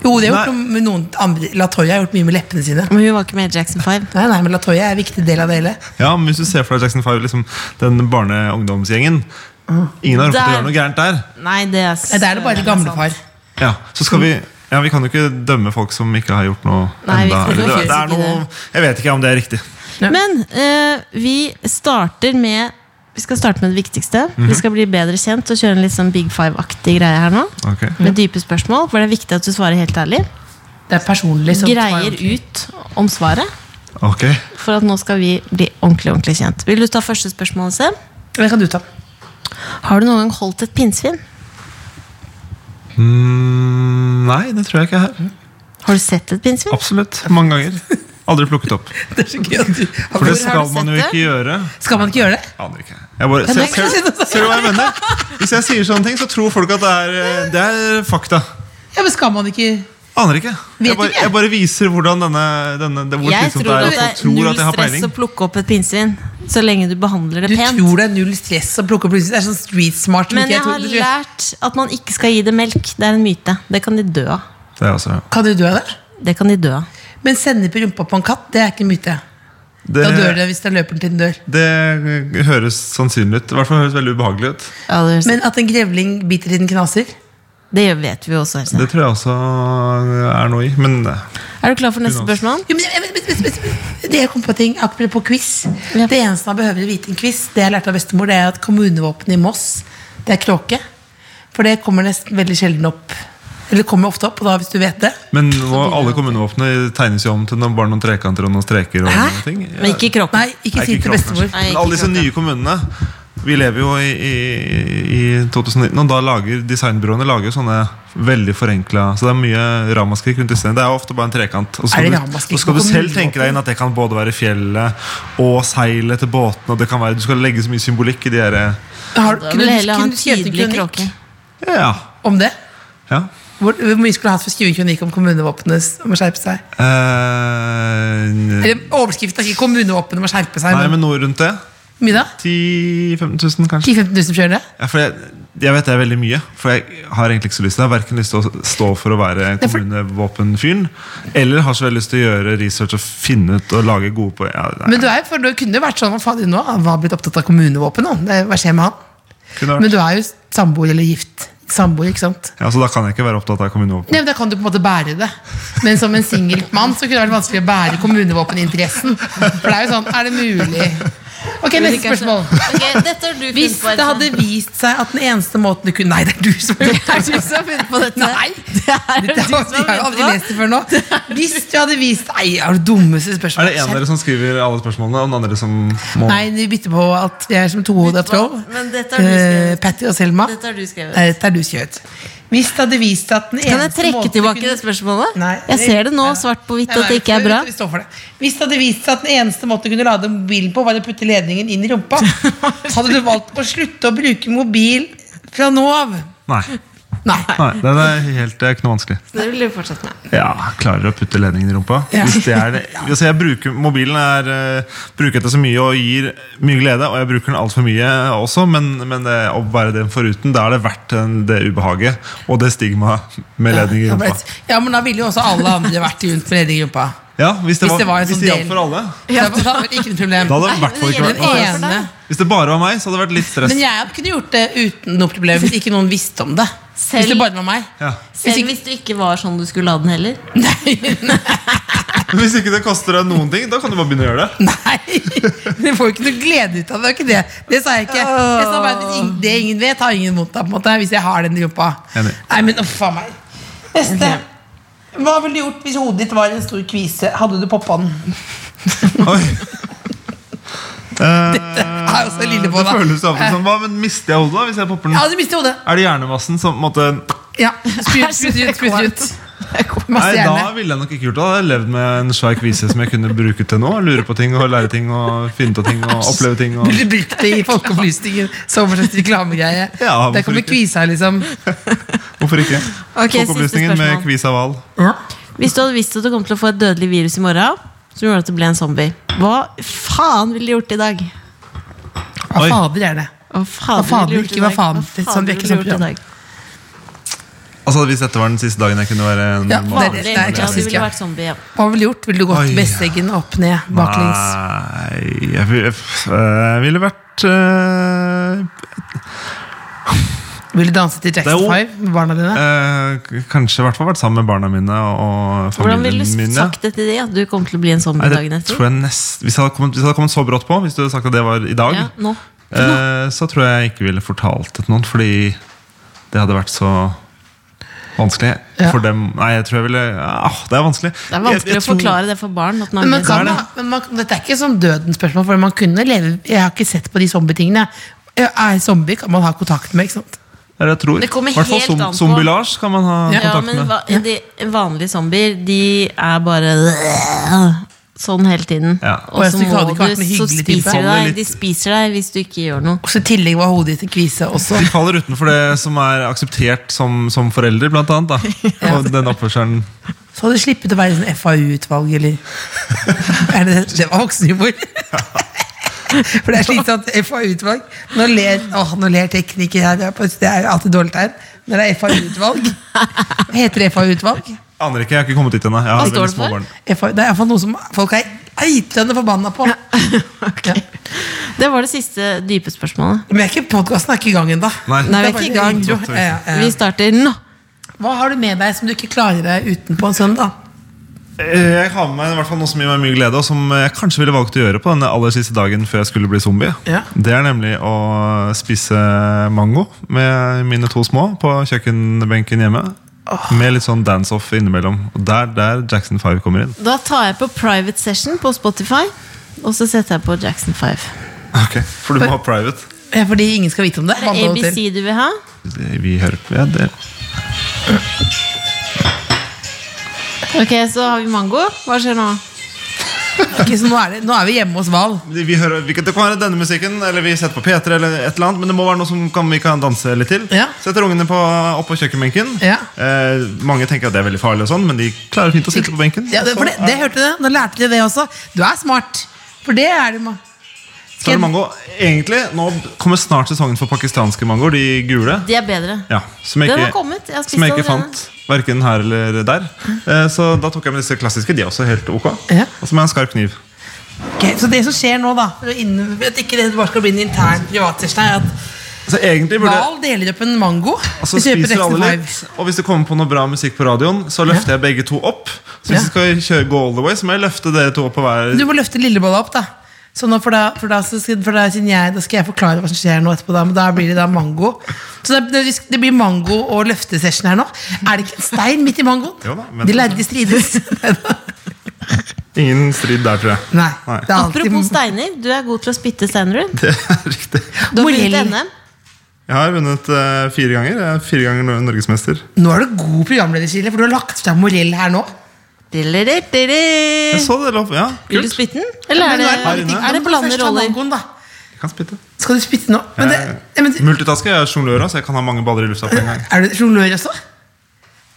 [SPEAKER 4] Jo, det har gjort noe med noen andre Latoya har gjort mye med leppene sine.
[SPEAKER 3] Men hun var ikke med i Jackson 5.
[SPEAKER 4] Nei, nei, men Latoya er en viktig del av det hele.
[SPEAKER 5] Ja, men Hvis du ser for deg Jackson 5, liksom, den barne-ungdomsgjengen Ingen har ropt
[SPEAKER 3] Der.
[SPEAKER 5] å gjøre noe gærent der.
[SPEAKER 3] Nei, det er s-
[SPEAKER 4] Nei, det er det bare gamlefar.
[SPEAKER 5] Ja, så skal vi ja, Vi kan jo ikke dømme folk som ikke har gjort noe
[SPEAKER 3] Nei, vi
[SPEAKER 5] enda.
[SPEAKER 3] skal
[SPEAKER 5] Eller
[SPEAKER 3] ikke
[SPEAKER 5] det, det er
[SPEAKER 3] gjøre
[SPEAKER 5] noe, jeg vet ikke om det er riktig.
[SPEAKER 3] Men eh, vi starter med Vi skal starte med det viktigste.
[SPEAKER 4] Mhm.
[SPEAKER 3] Vi skal bli bedre kjent og kjøre en litt sånn Big Five-aktig greie her nå.
[SPEAKER 5] Ok.
[SPEAKER 3] Med dype spørsmål, for det er viktig at du svarer helt ærlig.
[SPEAKER 4] Det er personlig. som
[SPEAKER 3] Greier ut om svaret.
[SPEAKER 5] Ok.
[SPEAKER 3] For at nå skal vi bli ordentlig ordentlig kjent. Vil du ta første spørsmål, Sem?
[SPEAKER 4] Det kan du ta.
[SPEAKER 3] Har du noen gang holdt et pinnsvin?
[SPEAKER 5] Mm, nei, det tror jeg ikke jeg har.
[SPEAKER 3] Har du sett et pinnsvin?
[SPEAKER 5] Absolutt. Mange ganger. Aldri plukket opp.
[SPEAKER 4] Det er så gøy at du
[SPEAKER 5] For
[SPEAKER 3] Hvor har
[SPEAKER 5] det
[SPEAKER 3] du
[SPEAKER 5] skal
[SPEAKER 3] sett
[SPEAKER 5] man jo
[SPEAKER 3] det?
[SPEAKER 5] ikke gjøre.
[SPEAKER 4] Skal man ikke gjøre det?
[SPEAKER 5] Aner ikke. Jeg bare, ser,
[SPEAKER 4] det er
[SPEAKER 5] ser,
[SPEAKER 4] ikke-
[SPEAKER 5] ser du hva jeg mener? Hvis jeg sier sånne ting, så tror folk at det er, eh, det er fakta.
[SPEAKER 4] Ja, men skal man ikke
[SPEAKER 5] Aner ikke.
[SPEAKER 4] Vet
[SPEAKER 5] Jeg bare,
[SPEAKER 4] ikke.
[SPEAKER 5] jeg bare viser hvordan denne, denne det, hvor
[SPEAKER 3] Jeg
[SPEAKER 5] slitsomt det
[SPEAKER 3] tror
[SPEAKER 5] er
[SPEAKER 3] at
[SPEAKER 5] at
[SPEAKER 3] det
[SPEAKER 5] folk
[SPEAKER 3] er
[SPEAKER 5] tror
[SPEAKER 3] null
[SPEAKER 5] at jeg har
[SPEAKER 3] stress
[SPEAKER 5] peiling.
[SPEAKER 3] å plukke opp et pinnsvin. Så lenge du behandler det
[SPEAKER 4] Du
[SPEAKER 3] pent.
[SPEAKER 4] tror det er null stress å plukke opp lyset. Det er sånn street smart. som
[SPEAKER 3] Men
[SPEAKER 4] ikke
[SPEAKER 3] jeg
[SPEAKER 4] tror-
[SPEAKER 3] har
[SPEAKER 4] det tror-
[SPEAKER 3] lært at man ikke skal gi det melk. Det er en myte. Det kan de dø av.
[SPEAKER 5] Det er altså- også,
[SPEAKER 4] Kan du dø av det?
[SPEAKER 3] Det kan de dø av.
[SPEAKER 4] Men sennep i rumpa på en katt, det er ikke en myte. Da dør det hvis den løper til den dør.
[SPEAKER 5] det høres sannsynlig ut. I hvert fall høres veldig ubehagelig ut.
[SPEAKER 3] Ja, det,
[SPEAKER 4] Men at en grevling biter i den knaser
[SPEAKER 3] det vet vi jo også. Else.
[SPEAKER 5] Det tror jeg også er noe i. Men eh,
[SPEAKER 3] Er du klar for neste spørsmål?
[SPEAKER 4] jo, men, men, men, men, men, Det jeg kom på ting akkurat på quiz.
[SPEAKER 3] Ja.
[SPEAKER 4] Det eneste man behøver å vite i en quiz, det jeg lærte av bestemor, det er at kommunevåpenet i Moss, det er kråke. For det kommer nesten veldig sjelden opp. Eller kommer ofte opp, og da hvis du vet det.
[SPEAKER 5] men nå, alle kommunevåpnene tegnes jo om til noen, bare noen trekanter og noen streker. og
[SPEAKER 4] Hæ?
[SPEAKER 5] noen ting Ja.
[SPEAKER 3] Men ikke kroppen.
[SPEAKER 4] Nei, ikke
[SPEAKER 5] Nei,
[SPEAKER 4] si det til
[SPEAKER 5] kropp,
[SPEAKER 4] bestemor.
[SPEAKER 5] kanskje.
[SPEAKER 3] Nei, ikke
[SPEAKER 5] Men alle disse
[SPEAKER 3] kropp, ja.
[SPEAKER 5] nye kommunene Vi lever jo i, i, i 2019, og da lager designbyråene lager jo sånne veldig forenkla Så det er mye ramaskrik rundt disse. Det er jo ofte bare en trekant. Og så
[SPEAKER 4] Er
[SPEAKER 5] skal,
[SPEAKER 4] det
[SPEAKER 5] du,
[SPEAKER 4] ramaskrik
[SPEAKER 5] så skal
[SPEAKER 4] på
[SPEAKER 5] du selv
[SPEAKER 4] kommunevåpenet?
[SPEAKER 5] tenke deg inn at det kan både være fjellet og seilet til båtene. Og det kan være, du skal legge så mye symbolikk i de eh, derre
[SPEAKER 4] Har,
[SPEAKER 3] Da vil
[SPEAKER 4] kunne du
[SPEAKER 3] jeg heller ha
[SPEAKER 4] kunne
[SPEAKER 3] en
[SPEAKER 4] du skrevet en
[SPEAKER 3] tydelig
[SPEAKER 4] kronikk
[SPEAKER 3] kråke.
[SPEAKER 5] Ja.
[SPEAKER 4] om det?
[SPEAKER 5] ja.
[SPEAKER 4] Hvor, hvor mye skulle du hatt for å skrive en kronikk om kommunevåpenet om å skjerpe seg?
[SPEAKER 5] Eh,
[SPEAKER 4] Eller overskriften er ikke 'kommunevåpenet må skjerpe seg'.
[SPEAKER 5] nei,
[SPEAKER 4] men
[SPEAKER 5] men noe rundt det.
[SPEAKER 4] Mye da?
[SPEAKER 5] 10 000-15 000, kanskje.
[SPEAKER 4] 10 000-15 000 som kjører det?
[SPEAKER 5] Ja, for jeg, jeg vet det er veldig mye, for jeg har egentlig ikke så lyst til det. Jeg har verken lyst til å stå for å være
[SPEAKER 4] er for-
[SPEAKER 5] kommunevåpenfyren, eller har så veldig lyst til å gjøre research og finne ut og lage gode på ja, nei,
[SPEAKER 4] Men du er, jo- for du kunne jo vært sånn Hva faen, nå? Han var blitt opptatt av kommunevåpen, nå. Det, hva skjer med han?
[SPEAKER 5] kunne vært.
[SPEAKER 4] Men du er jo samboer eller gift. Samboer, ikke sant?
[SPEAKER 5] Ja, Så da kan jeg ikke være opptatt av kommunevåpen.
[SPEAKER 4] Nei, men Da kan du på en måte bære det. Men som en singel mann så kunne det vært vanskelig å bære kommunevåpeninteressen. For det er jo sånn Er det mulig? Ok, neste spørsmål.
[SPEAKER 3] Ok, dette har du
[SPEAKER 4] Hvis
[SPEAKER 3] funnet på.
[SPEAKER 4] det hadde vist seg at den eneste måten du kunne Nei, det er du som har gjort det.
[SPEAKER 3] du som har funnet på dette.
[SPEAKER 4] Nei!
[SPEAKER 3] Det er
[SPEAKER 4] Dette
[SPEAKER 3] du
[SPEAKER 4] har,
[SPEAKER 3] som
[SPEAKER 4] jeg har jo
[SPEAKER 3] har
[SPEAKER 4] aldri
[SPEAKER 3] funnet
[SPEAKER 4] lest det før nå. Hvis du hadde vist Nei, det er det dummeste
[SPEAKER 5] Er
[SPEAKER 4] spørsmålet.
[SPEAKER 5] det en av dere som skriver alle spørsmålene, og den andre som må
[SPEAKER 4] Nei, vi bytter på at vi er som tohoda troll.
[SPEAKER 3] Men dette har du
[SPEAKER 4] Eh,
[SPEAKER 3] skrevet.
[SPEAKER 4] Patty og Selma.
[SPEAKER 3] Dette har du skrevet.
[SPEAKER 4] Nei, dette er du skjøt. Hvis det hadde vist seg at den
[SPEAKER 3] Kan jeg
[SPEAKER 4] eneste
[SPEAKER 3] trekke
[SPEAKER 4] måten du
[SPEAKER 3] tilbake
[SPEAKER 4] kunne-
[SPEAKER 3] det spørsmålet?
[SPEAKER 4] Nei,
[SPEAKER 3] Jeg
[SPEAKER 4] det-
[SPEAKER 3] ser det nå,
[SPEAKER 4] Nei, nei.
[SPEAKER 3] svart på hvitt,
[SPEAKER 4] Nei, nei,
[SPEAKER 3] at det ikke er
[SPEAKER 4] vi-
[SPEAKER 3] bra.
[SPEAKER 4] Vi står for det. Hvis det hadde vist seg at den eneste måten du kunne lade mobilen på, var å putte ledningen inn i rumpa, hadde du valgt å slutte å bruke mobil fra nå av.
[SPEAKER 5] Nei.
[SPEAKER 4] Nei.
[SPEAKER 5] nei det, er helt, det er ikke noe vanskelig.
[SPEAKER 3] Det vil du fortsette med.
[SPEAKER 5] Ja, klarer å putte ledningen i rumpa.
[SPEAKER 4] Ja.
[SPEAKER 5] Hvis det er det. Altså jeg bruker, mobilen er, eh, bruker det så mye og gir mye glede, og jeg bruker den altfor mye også, men, men det, å være den foruten, da er det verdt den, det ubehaget og det stigmaet med ledning i
[SPEAKER 4] Ja, men-
[SPEAKER 5] rumpa.
[SPEAKER 4] Ja, men da ville jo også alle andre vært rundt med ledning i rumpa.
[SPEAKER 5] Ja, Hvis det,
[SPEAKER 4] Hvis det var
[SPEAKER 5] var,
[SPEAKER 4] en
[SPEAKER 5] hvis
[SPEAKER 4] sånn
[SPEAKER 5] det
[SPEAKER 4] del.
[SPEAKER 5] gjaldt for alle.
[SPEAKER 4] Da, da hadde det vært ikke noe problem.
[SPEAKER 5] Da hadde det i hvert
[SPEAKER 3] men
[SPEAKER 5] fall
[SPEAKER 3] det
[SPEAKER 5] ikke
[SPEAKER 3] gjelder jo
[SPEAKER 5] vært noe
[SPEAKER 3] ikke.
[SPEAKER 5] stress.
[SPEAKER 3] for deg.
[SPEAKER 4] Ene.
[SPEAKER 5] Hvis det bare var meg, så hadde det vært litt stress.
[SPEAKER 4] Men jeg hadde kunne gjort det uten noe problem hvis ikke noen visste om det.
[SPEAKER 3] Selv-
[SPEAKER 4] Hvis det bare var meg.
[SPEAKER 5] Ja.
[SPEAKER 4] Hvis
[SPEAKER 3] Selv
[SPEAKER 4] ikke-
[SPEAKER 3] hvis du ikke var sånn du skulle ha den heller.
[SPEAKER 4] Nei, nei.
[SPEAKER 5] Men hvis ikke det koster deg noen ting, da kan du bare begynne å gjøre det.
[SPEAKER 4] Nei! Du får jo ikke noe glede ut av det. Det var ikke det. Det sa jeg ikke. Jeg sa bare at hvis ing- Det ingen vet, har ingen vondt av, på en måte, hvis jeg har den rumpa.
[SPEAKER 5] Enig.
[SPEAKER 4] Nei, men uff a meg. Neste. Hva ville du gjort hvis hodet ditt var en stor kvise? Hadde du poppa den?
[SPEAKER 5] Oi. Eh,
[SPEAKER 4] er også lille på,
[SPEAKER 5] det
[SPEAKER 4] da.
[SPEAKER 5] føles av og til sånn. Hva, men mister jeg hodet da, hvis jeg popper
[SPEAKER 4] Ja,
[SPEAKER 5] den?
[SPEAKER 4] du mister hodet.
[SPEAKER 5] Er det hjernemassen som på en måte
[SPEAKER 4] Ja, Sprut, sprut ut, sprut ut. Masse
[SPEAKER 5] Nei, da
[SPEAKER 4] hjerne.
[SPEAKER 5] ville jeg nok ikke gjort det. Da hadde jeg levd med en svær kvise som jeg kunne bruke til nå. Lure på ting og lære ting og finne ut av ting og oppleve ting. Og...
[SPEAKER 4] Burde brukt det i Folkeopplysningen som en slags reklamegreie.
[SPEAKER 5] Ja,
[SPEAKER 4] Der kommer
[SPEAKER 5] hvorfor ikke?
[SPEAKER 4] kvisa, liksom.
[SPEAKER 5] Hvorfor ikke?
[SPEAKER 3] Ok, siste
[SPEAKER 5] Folkeopplysningen med
[SPEAKER 3] spørsmål.
[SPEAKER 5] kvisa hval.
[SPEAKER 3] Hvis du hadde visst at du kom til å få et dødelig virus i morgen, som gjorde at du ble en zombie, hva faen ville du gjort i dag?
[SPEAKER 4] Hva
[SPEAKER 5] Oi.
[SPEAKER 4] fader er det?
[SPEAKER 3] Hva faen,
[SPEAKER 4] Hva faen,
[SPEAKER 3] ville du gjort i
[SPEAKER 4] ikke hva
[SPEAKER 3] dag?
[SPEAKER 4] faen. Det er sånn vi er
[SPEAKER 3] ville
[SPEAKER 4] ikke
[SPEAKER 3] du
[SPEAKER 4] sånn
[SPEAKER 3] gjort i
[SPEAKER 4] program.
[SPEAKER 3] dag?
[SPEAKER 5] Altså Hvis dette var den siste dagen jeg kunne være en
[SPEAKER 4] Ja,
[SPEAKER 5] vanlig
[SPEAKER 3] Vanlig.
[SPEAKER 4] det er
[SPEAKER 3] Ja, du
[SPEAKER 4] klassisk,
[SPEAKER 3] ville
[SPEAKER 4] ja.
[SPEAKER 3] vært zombie, ja.
[SPEAKER 4] Hva ville du gjort? Ville du gått
[SPEAKER 5] Oi.
[SPEAKER 4] Besseggen opp ned, baklengs?
[SPEAKER 5] Nei Jeg ville, jeg ville vært øh,
[SPEAKER 4] Ville du danset til
[SPEAKER 5] Det er
[SPEAKER 4] Jackson
[SPEAKER 5] jo-
[SPEAKER 4] 5 med barna dine?
[SPEAKER 5] øh, k- Kanskje i hvert fall vært sammen med barna mine
[SPEAKER 3] Hvordan
[SPEAKER 5] og familien
[SPEAKER 3] ville du
[SPEAKER 5] min.
[SPEAKER 3] sagt det til de, at du kom til å bli en zombie
[SPEAKER 5] Nei,
[SPEAKER 3] dagen
[SPEAKER 5] det
[SPEAKER 3] etter?
[SPEAKER 5] tror jeg nest, hvis, jeg hadde kommet, hvis jeg hadde kommet så brått på, hvis du hadde sagt at det var i dag,
[SPEAKER 3] Ja, nå.
[SPEAKER 5] eh, så tror jeg jeg ikke ville fortalt det til noen, fordi det hadde vært så vanskelig
[SPEAKER 4] Ja.
[SPEAKER 5] for dem. Nei, jeg tror jeg ville ah, Det er vanskelig.
[SPEAKER 3] Det er vanskelig
[SPEAKER 5] Jeg- jeg
[SPEAKER 3] å
[SPEAKER 5] tror-
[SPEAKER 3] forklare det for barn. At
[SPEAKER 4] Men, man
[SPEAKER 3] man
[SPEAKER 4] kan,
[SPEAKER 5] det.
[SPEAKER 4] da- men man, dette er ikke sånn døden-spørsmål, for man kunne leve Jeg har ikke sett på de zombie-tingene. Jeg Er zombie kan man ha kontakt med, ikke sant?
[SPEAKER 5] Det er det jeg tror.
[SPEAKER 3] Det kommer
[SPEAKER 5] I hvert fall
[SPEAKER 3] helt
[SPEAKER 5] som-
[SPEAKER 3] an på.
[SPEAKER 5] Zombie-Lars kan man ha
[SPEAKER 4] Ja,
[SPEAKER 3] ja,
[SPEAKER 5] kontakt
[SPEAKER 3] men
[SPEAKER 5] med.
[SPEAKER 3] hva, de vanlige zombier, de er bare sånn hele tiden.
[SPEAKER 5] Ja.
[SPEAKER 3] Og
[SPEAKER 4] Og
[SPEAKER 3] så
[SPEAKER 4] jeg synes det
[SPEAKER 3] må
[SPEAKER 4] hadde ikke
[SPEAKER 3] du,
[SPEAKER 4] vært noe
[SPEAKER 3] så
[SPEAKER 4] hyggelig type.
[SPEAKER 3] spiser de
[SPEAKER 5] Holder
[SPEAKER 3] deg.
[SPEAKER 5] litt-
[SPEAKER 3] De spiser deg hvis du ikke gjør noe.
[SPEAKER 4] Og så i tillegg var hodet ditt en kvise også.
[SPEAKER 5] De faller utenfor det som er akseptert som, som foreldre, blant annet. Da. Og den oppførselen
[SPEAKER 4] Så hadde du sluppet å være i sånn FAU-utvalg, eller er det, det var voksenhumor. For det er slitsomt. FAU-utvalg. Nå ler, åh, nå ler teknikere her. det er på- Det er alltid dårlig tegn. Når det er FAU-utvalg. Hva heter det FAU-utvalg?
[SPEAKER 5] Aner ikke, jeg har ikke kommet dit ennå. Jeg har
[SPEAKER 3] Hva står
[SPEAKER 5] veldig
[SPEAKER 3] det for?
[SPEAKER 5] små barn.
[SPEAKER 4] FAU, det er iallfall noe som folk er eitrende forbanna på. Ja.
[SPEAKER 3] Det var det siste dype spørsmålet.
[SPEAKER 4] Men jeg er ikke podkasten er ikke i gang ennå.
[SPEAKER 5] Nei.
[SPEAKER 3] Nei, vi er
[SPEAKER 4] Det er
[SPEAKER 3] ikke i
[SPEAKER 4] bare
[SPEAKER 3] gang.
[SPEAKER 4] intro. Ja, ja, ja.
[SPEAKER 3] Vi starter nå.
[SPEAKER 4] Hva har du med deg som du ikke klarer deg uten på en søndag?
[SPEAKER 5] Eh, Jeg har med meg i hvert fall noe som gir meg mye glede, og som jeg kanskje ville valgt å gjøre på den aller siste dagen før jeg skulle bli zombie.
[SPEAKER 4] Ja.
[SPEAKER 5] Det er nemlig å spise mango med mine to små på kjøkkenbenken hjemme. Med litt sånn dance-off innimellom. Og der, der Jackson 5 kommer inn.
[SPEAKER 3] Da tar jeg på private session på Spotify, og så setter jeg på Jackson 5.
[SPEAKER 5] Ok, For du må ha private.
[SPEAKER 4] Ja, Fordi ingen skal vite om det.
[SPEAKER 3] Er det
[SPEAKER 4] Vandrehotell.
[SPEAKER 3] ABC du vil ha?
[SPEAKER 5] Vi hører på ja, det.
[SPEAKER 3] Ok, så har vi mango. Hva skjer nå?
[SPEAKER 4] Ikke, så nå, er det, nå er vi hjemme hos Val.
[SPEAKER 5] Vi hører, vi kan, det kan være denne musikken, eller vi setter på P3, eller et eller annet, men det må være noe som kan, vi kan danse litt til.
[SPEAKER 4] Ja.
[SPEAKER 5] Setter ungene på, opp på kjøkkenbenken.
[SPEAKER 4] Ja.
[SPEAKER 5] Eh, mange tenker at det er veldig farlig, og sånn, men de klarer fint å sitte på benken.
[SPEAKER 4] Ja, det, for det, det hørte dere. Nå lærte dere det også. Du er smart. For det er du. ma-
[SPEAKER 5] Så er det mango. Egentlig, Nå kommer snart sesongen for pakistanske mangoer, de gule.
[SPEAKER 3] De er bedre.
[SPEAKER 5] Ja, som jeg
[SPEAKER 3] Den har
[SPEAKER 5] ikke,
[SPEAKER 3] kommet, jeg har spist
[SPEAKER 5] som jeg ikke
[SPEAKER 3] allerede. Mm.
[SPEAKER 5] fant verken her eller der. Eh, så da tok jeg med disse klassiske. De er også helt ok.
[SPEAKER 4] Ja.
[SPEAKER 5] Og så må jeg ha en skarp kniv.
[SPEAKER 4] Ok, så det som skjer nå, da for å inn- for At ikke det bare skal bli en intern privatsession, er at
[SPEAKER 5] Så egentlig burde
[SPEAKER 4] Val deler opp en mango.
[SPEAKER 5] Og så
[SPEAKER 4] Vi kjøper
[SPEAKER 5] Altså, spiser
[SPEAKER 4] Jackson
[SPEAKER 5] alle
[SPEAKER 4] Five.
[SPEAKER 5] litt, og hvis det kommer på noe bra musikk på radioen, så løfter jeg begge to opp. Så
[SPEAKER 4] Ja.
[SPEAKER 5] hvis vi skal kjøre gå all the way, så må jeg løfte dere to opp på hver.
[SPEAKER 4] Du må løfte lillebolla opp, da. Så nå for da, for da, så skal, for da, siden jeg, da skal jeg forklare hva som skjer nå etterpå. Da, men da blir det da mango. Så det, det, det blir mango- og løftesession her nå. Er det ikke en stein midt i mangoen?
[SPEAKER 5] Jo da, men-
[SPEAKER 4] De lærde strides.
[SPEAKER 5] Ingen strid der, tror jeg.
[SPEAKER 4] Nei,
[SPEAKER 5] Nei.
[SPEAKER 4] det er alltid
[SPEAKER 3] Apropos steiner, du er god til å spytte steiner. du.
[SPEAKER 5] Det er riktig.
[SPEAKER 3] Du har vunnet
[SPEAKER 4] Morell.
[SPEAKER 3] NM.
[SPEAKER 5] Jeg har vunnet eh, fire ganger. Jeg er fire ganger nor- norgesmester.
[SPEAKER 4] Nå er du god programleder, Silje, for du har lagt fram Morell her nå.
[SPEAKER 3] Dilleritteri.
[SPEAKER 5] Jeg så det lå opp- Ja,
[SPEAKER 3] Vil du
[SPEAKER 5] kult.
[SPEAKER 3] spytte den? Eller er
[SPEAKER 4] Men nå
[SPEAKER 3] det,
[SPEAKER 4] bare ting-
[SPEAKER 5] inne.
[SPEAKER 3] er det
[SPEAKER 4] men
[SPEAKER 3] blande
[SPEAKER 4] først ta
[SPEAKER 3] roller?
[SPEAKER 4] mangoen, da.
[SPEAKER 5] Jeg kan spytte.
[SPEAKER 4] Skal du spytte nå? Men det, ja, men,
[SPEAKER 5] Jeg- Multitasker. Jeg er sjonglør også, så jeg kan ha mange baller i lufta på en gang.
[SPEAKER 4] er du sjonglør også?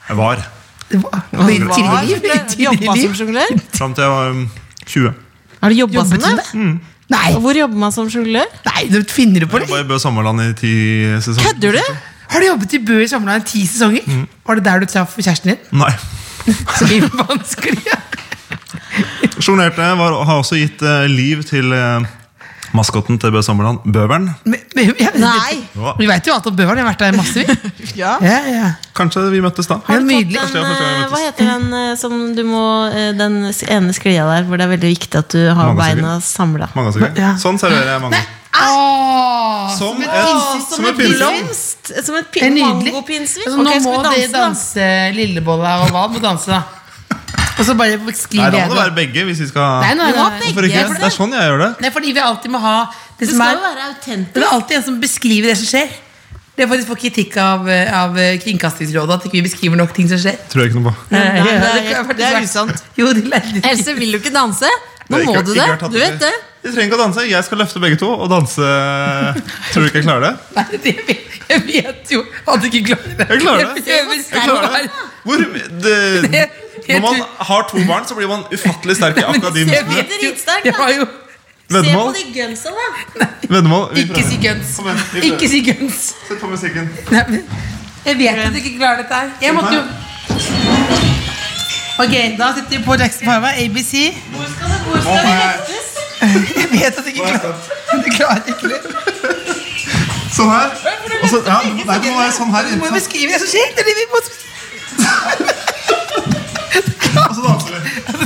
[SPEAKER 5] Jeg var.
[SPEAKER 4] Det var- i Tidligere liv? i
[SPEAKER 3] Jobba
[SPEAKER 4] tidligere
[SPEAKER 3] som
[SPEAKER 4] liv.
[SPEAKER 3] sjonglør?
[SPEAKER 5] Fram til jeg var um, 20.
[SPEAKER 3] Har du jobba som
[SPEAKER 4] Jobbet du
[SPEAKER 3] det?
[SPEAKER 4] det? Nei,
[SPEAKER 3] Og Hvor jobber man som sjonglør?
[SPEAKER 4] nei, du finner du på
[SPEAKER 5] Jeg
[SPEAKER 4] det?
[SPEAKER 5] var i Bø Sommerland i ti sesonger.
[SPEAKER 3] Kødder du?
[SPEAKER 4] Har du jobbet i Bø i Sommerland i ti sesonger? Var det der du traff kjæresten din?
[SPEAKER 5] Nei.
[SPEAKER 4] Så mye vanskelig.
[SPEAKER 5] Sjonglerte var, har også gitt eh, liv til eh, maskotten til Bø Sommerland, Bøveren.
[SPEAKER 4] Men- men- ja,
[SPEAKER 3] Nei.
[SPEAKER 5] Ja.
[SPEAKER 4] Vi veit jo alt om Bøhler, jeg har vært der masse. vi.
[SPEAKER 3] Ja.
[SPEAKER 4] Ja, ja.
[SPEAKER 5] Kanskje vi møttes da.
[SPEAKER 4] Ja, nydelig.
[SPEAKER 5] Første
[SPEAKER 3] Men,
[SPEAKER 5] gang- første gang jeg
[SPEAKER 3] eh,
[SPEAKER 5] møttes.
[SPEAKER 3] hva heter den eh, som du må eh, Den ene sklia der hvor det er veldig viktig at du har
[SPEAKER 5] Magasøker.
[SPEAKER 3] beina samla?
[SPEAKER 5] Mange ganger.
[SPEAKER 4] Ja.
[SPEAKER 5] Sånn serverer jeg mange.
[SPEAKER 4] Åh,
[SPEAKER 5] Som et, som et pinnsvin.
[SPEAKER 3] eh, Som et
[SPEAKER 4] det er
[SPEAKER 3] pin-
[SPEAKER 4] nydelig.
[SPEAKER 3] mangopinnsvin.
[SPEAKER 4] Altså,
[SPEAKER 3] Ok,
[SPEAKER 4] nå
[SPEAKER 3] skal
[SPEAKER 4] må
[SPEAKER 3] vi danse,
[SPEAKER 4] de
[SPEAKER 3] da?
[SPEAKER 4] danse Lillebolla og Val må danse, da. Og så bare sklir
[SPEAKER 5] Nei, da
[SPEAKER 4] det.
[SPEAKER 5] må det være begge. hvis vi skal...
[SPEAKER 4] Nei, nei,
[SPEAKER 3] Vi må
[SPEAKER 4] nei.
[SPEAKER 3] begge,
[SPEAKER 5] Hvorfor ikke?
[SPEAKER 3] for
[SPEAKER 5] Det er sånn jeg gjør det.
[SPEAKER 4] Nei, fordi vi alltid må ha det
[SPEAKER 3] Det
[SPEAKER 4] som
[SPEAKER 3] skal
[SPEAKER 4] er
[SPEAKER 3] jo være
[SPEAKER 4] Det
[SPEAKER 3] autentisk.
[SPEAKER 4] er alltid en som beskriver det som skjer. Det er faktisk for kritikk av, eh, av eh, Kringkastingsrådet at ikke vi beskriver nok ting som skjer.
[SPEAKER 5] Tror jeg ikke noe på.
[SPEAKER 4] Nei,
[SPEAKER 3] det er-
[SPEAKER 4] kan-
[SPEAKER 3] det er usant.
[SPEAKER 4] Jo, det er litt-
[SPEAKER 3] Else, vil du ikke danse? Nå
[SPEAKER 5] Ikke-
[SPEAKER 3] må du
[SPEAKER 5] ikke
[SPEAKER 3] det.
[SPEAKER 5] har tatt
[SPEAKER 3] Du vet det.
[SPEAKER 5] Vi trenger ikke å danse. Jeg skal løfte begge to og danse. Tror du ikke jeg klarer det?
[SPEAKER 4] Nei, det vet- jeg vet jo at du ikke klarer det.
[SPEAKER 5] Jeg klarer det.
[SPEAKER 4] Jeg prøver
[SPEAKER 5] Jeg klarer det. Hvor, det, når man har to barn, så blir man ufattelig sterk i akkurat de
[SPEAKER 4] Jeg
[SPEAKER 5] musklene.
[SPEAKER 4] vet jo,
[SPEAKER 3] Dritsterk,
[SPEAKER 4] jeg
[SPEAKER 3] da.
[SPEAKER 4] har jo
[SPEAKER 3] Se på
[SPEAKER 5] Veddemål.
[SPEAKER 3] de gunsa, da.
[SPEAKER 5] Veddemål. Vi
[SPEAKER 4] Ikke si
[SPEAKER 5] prøver.
[SPEAKER 4] guns.
[SPEAKER 5] Kom igjen, vi prøver.
[SPEAKER 4] Ikke si guns.
[SPEAKER 5] Sett på musikken.
[SPEAKER 4] Nei, men Jeg vet at du ikke klarer dette her. Jeg måtte jo Ok, da sitter vi på Jackson 5 ABC.
[SPEAKER 5] Nå må jeg-
[SPEAKER 4] Jeg vet at du ikke
[SPEAKER 5] nå må jeg
[SPEAKER 4] klarer
[SPEAKER 5] stoppe.
[SPEAKER 4] Du klarer ikke det.
[SPEAKER 5] Sånn her. Og så, ja, nei, det må være sånn her.
[SPEAKER 4] Du må jo
[SPEAKER 5] innenfor.
[SPEAKER 4] beskrive det som skjer. Det er det vi må
[SPEAKER 5] Og så danser vi.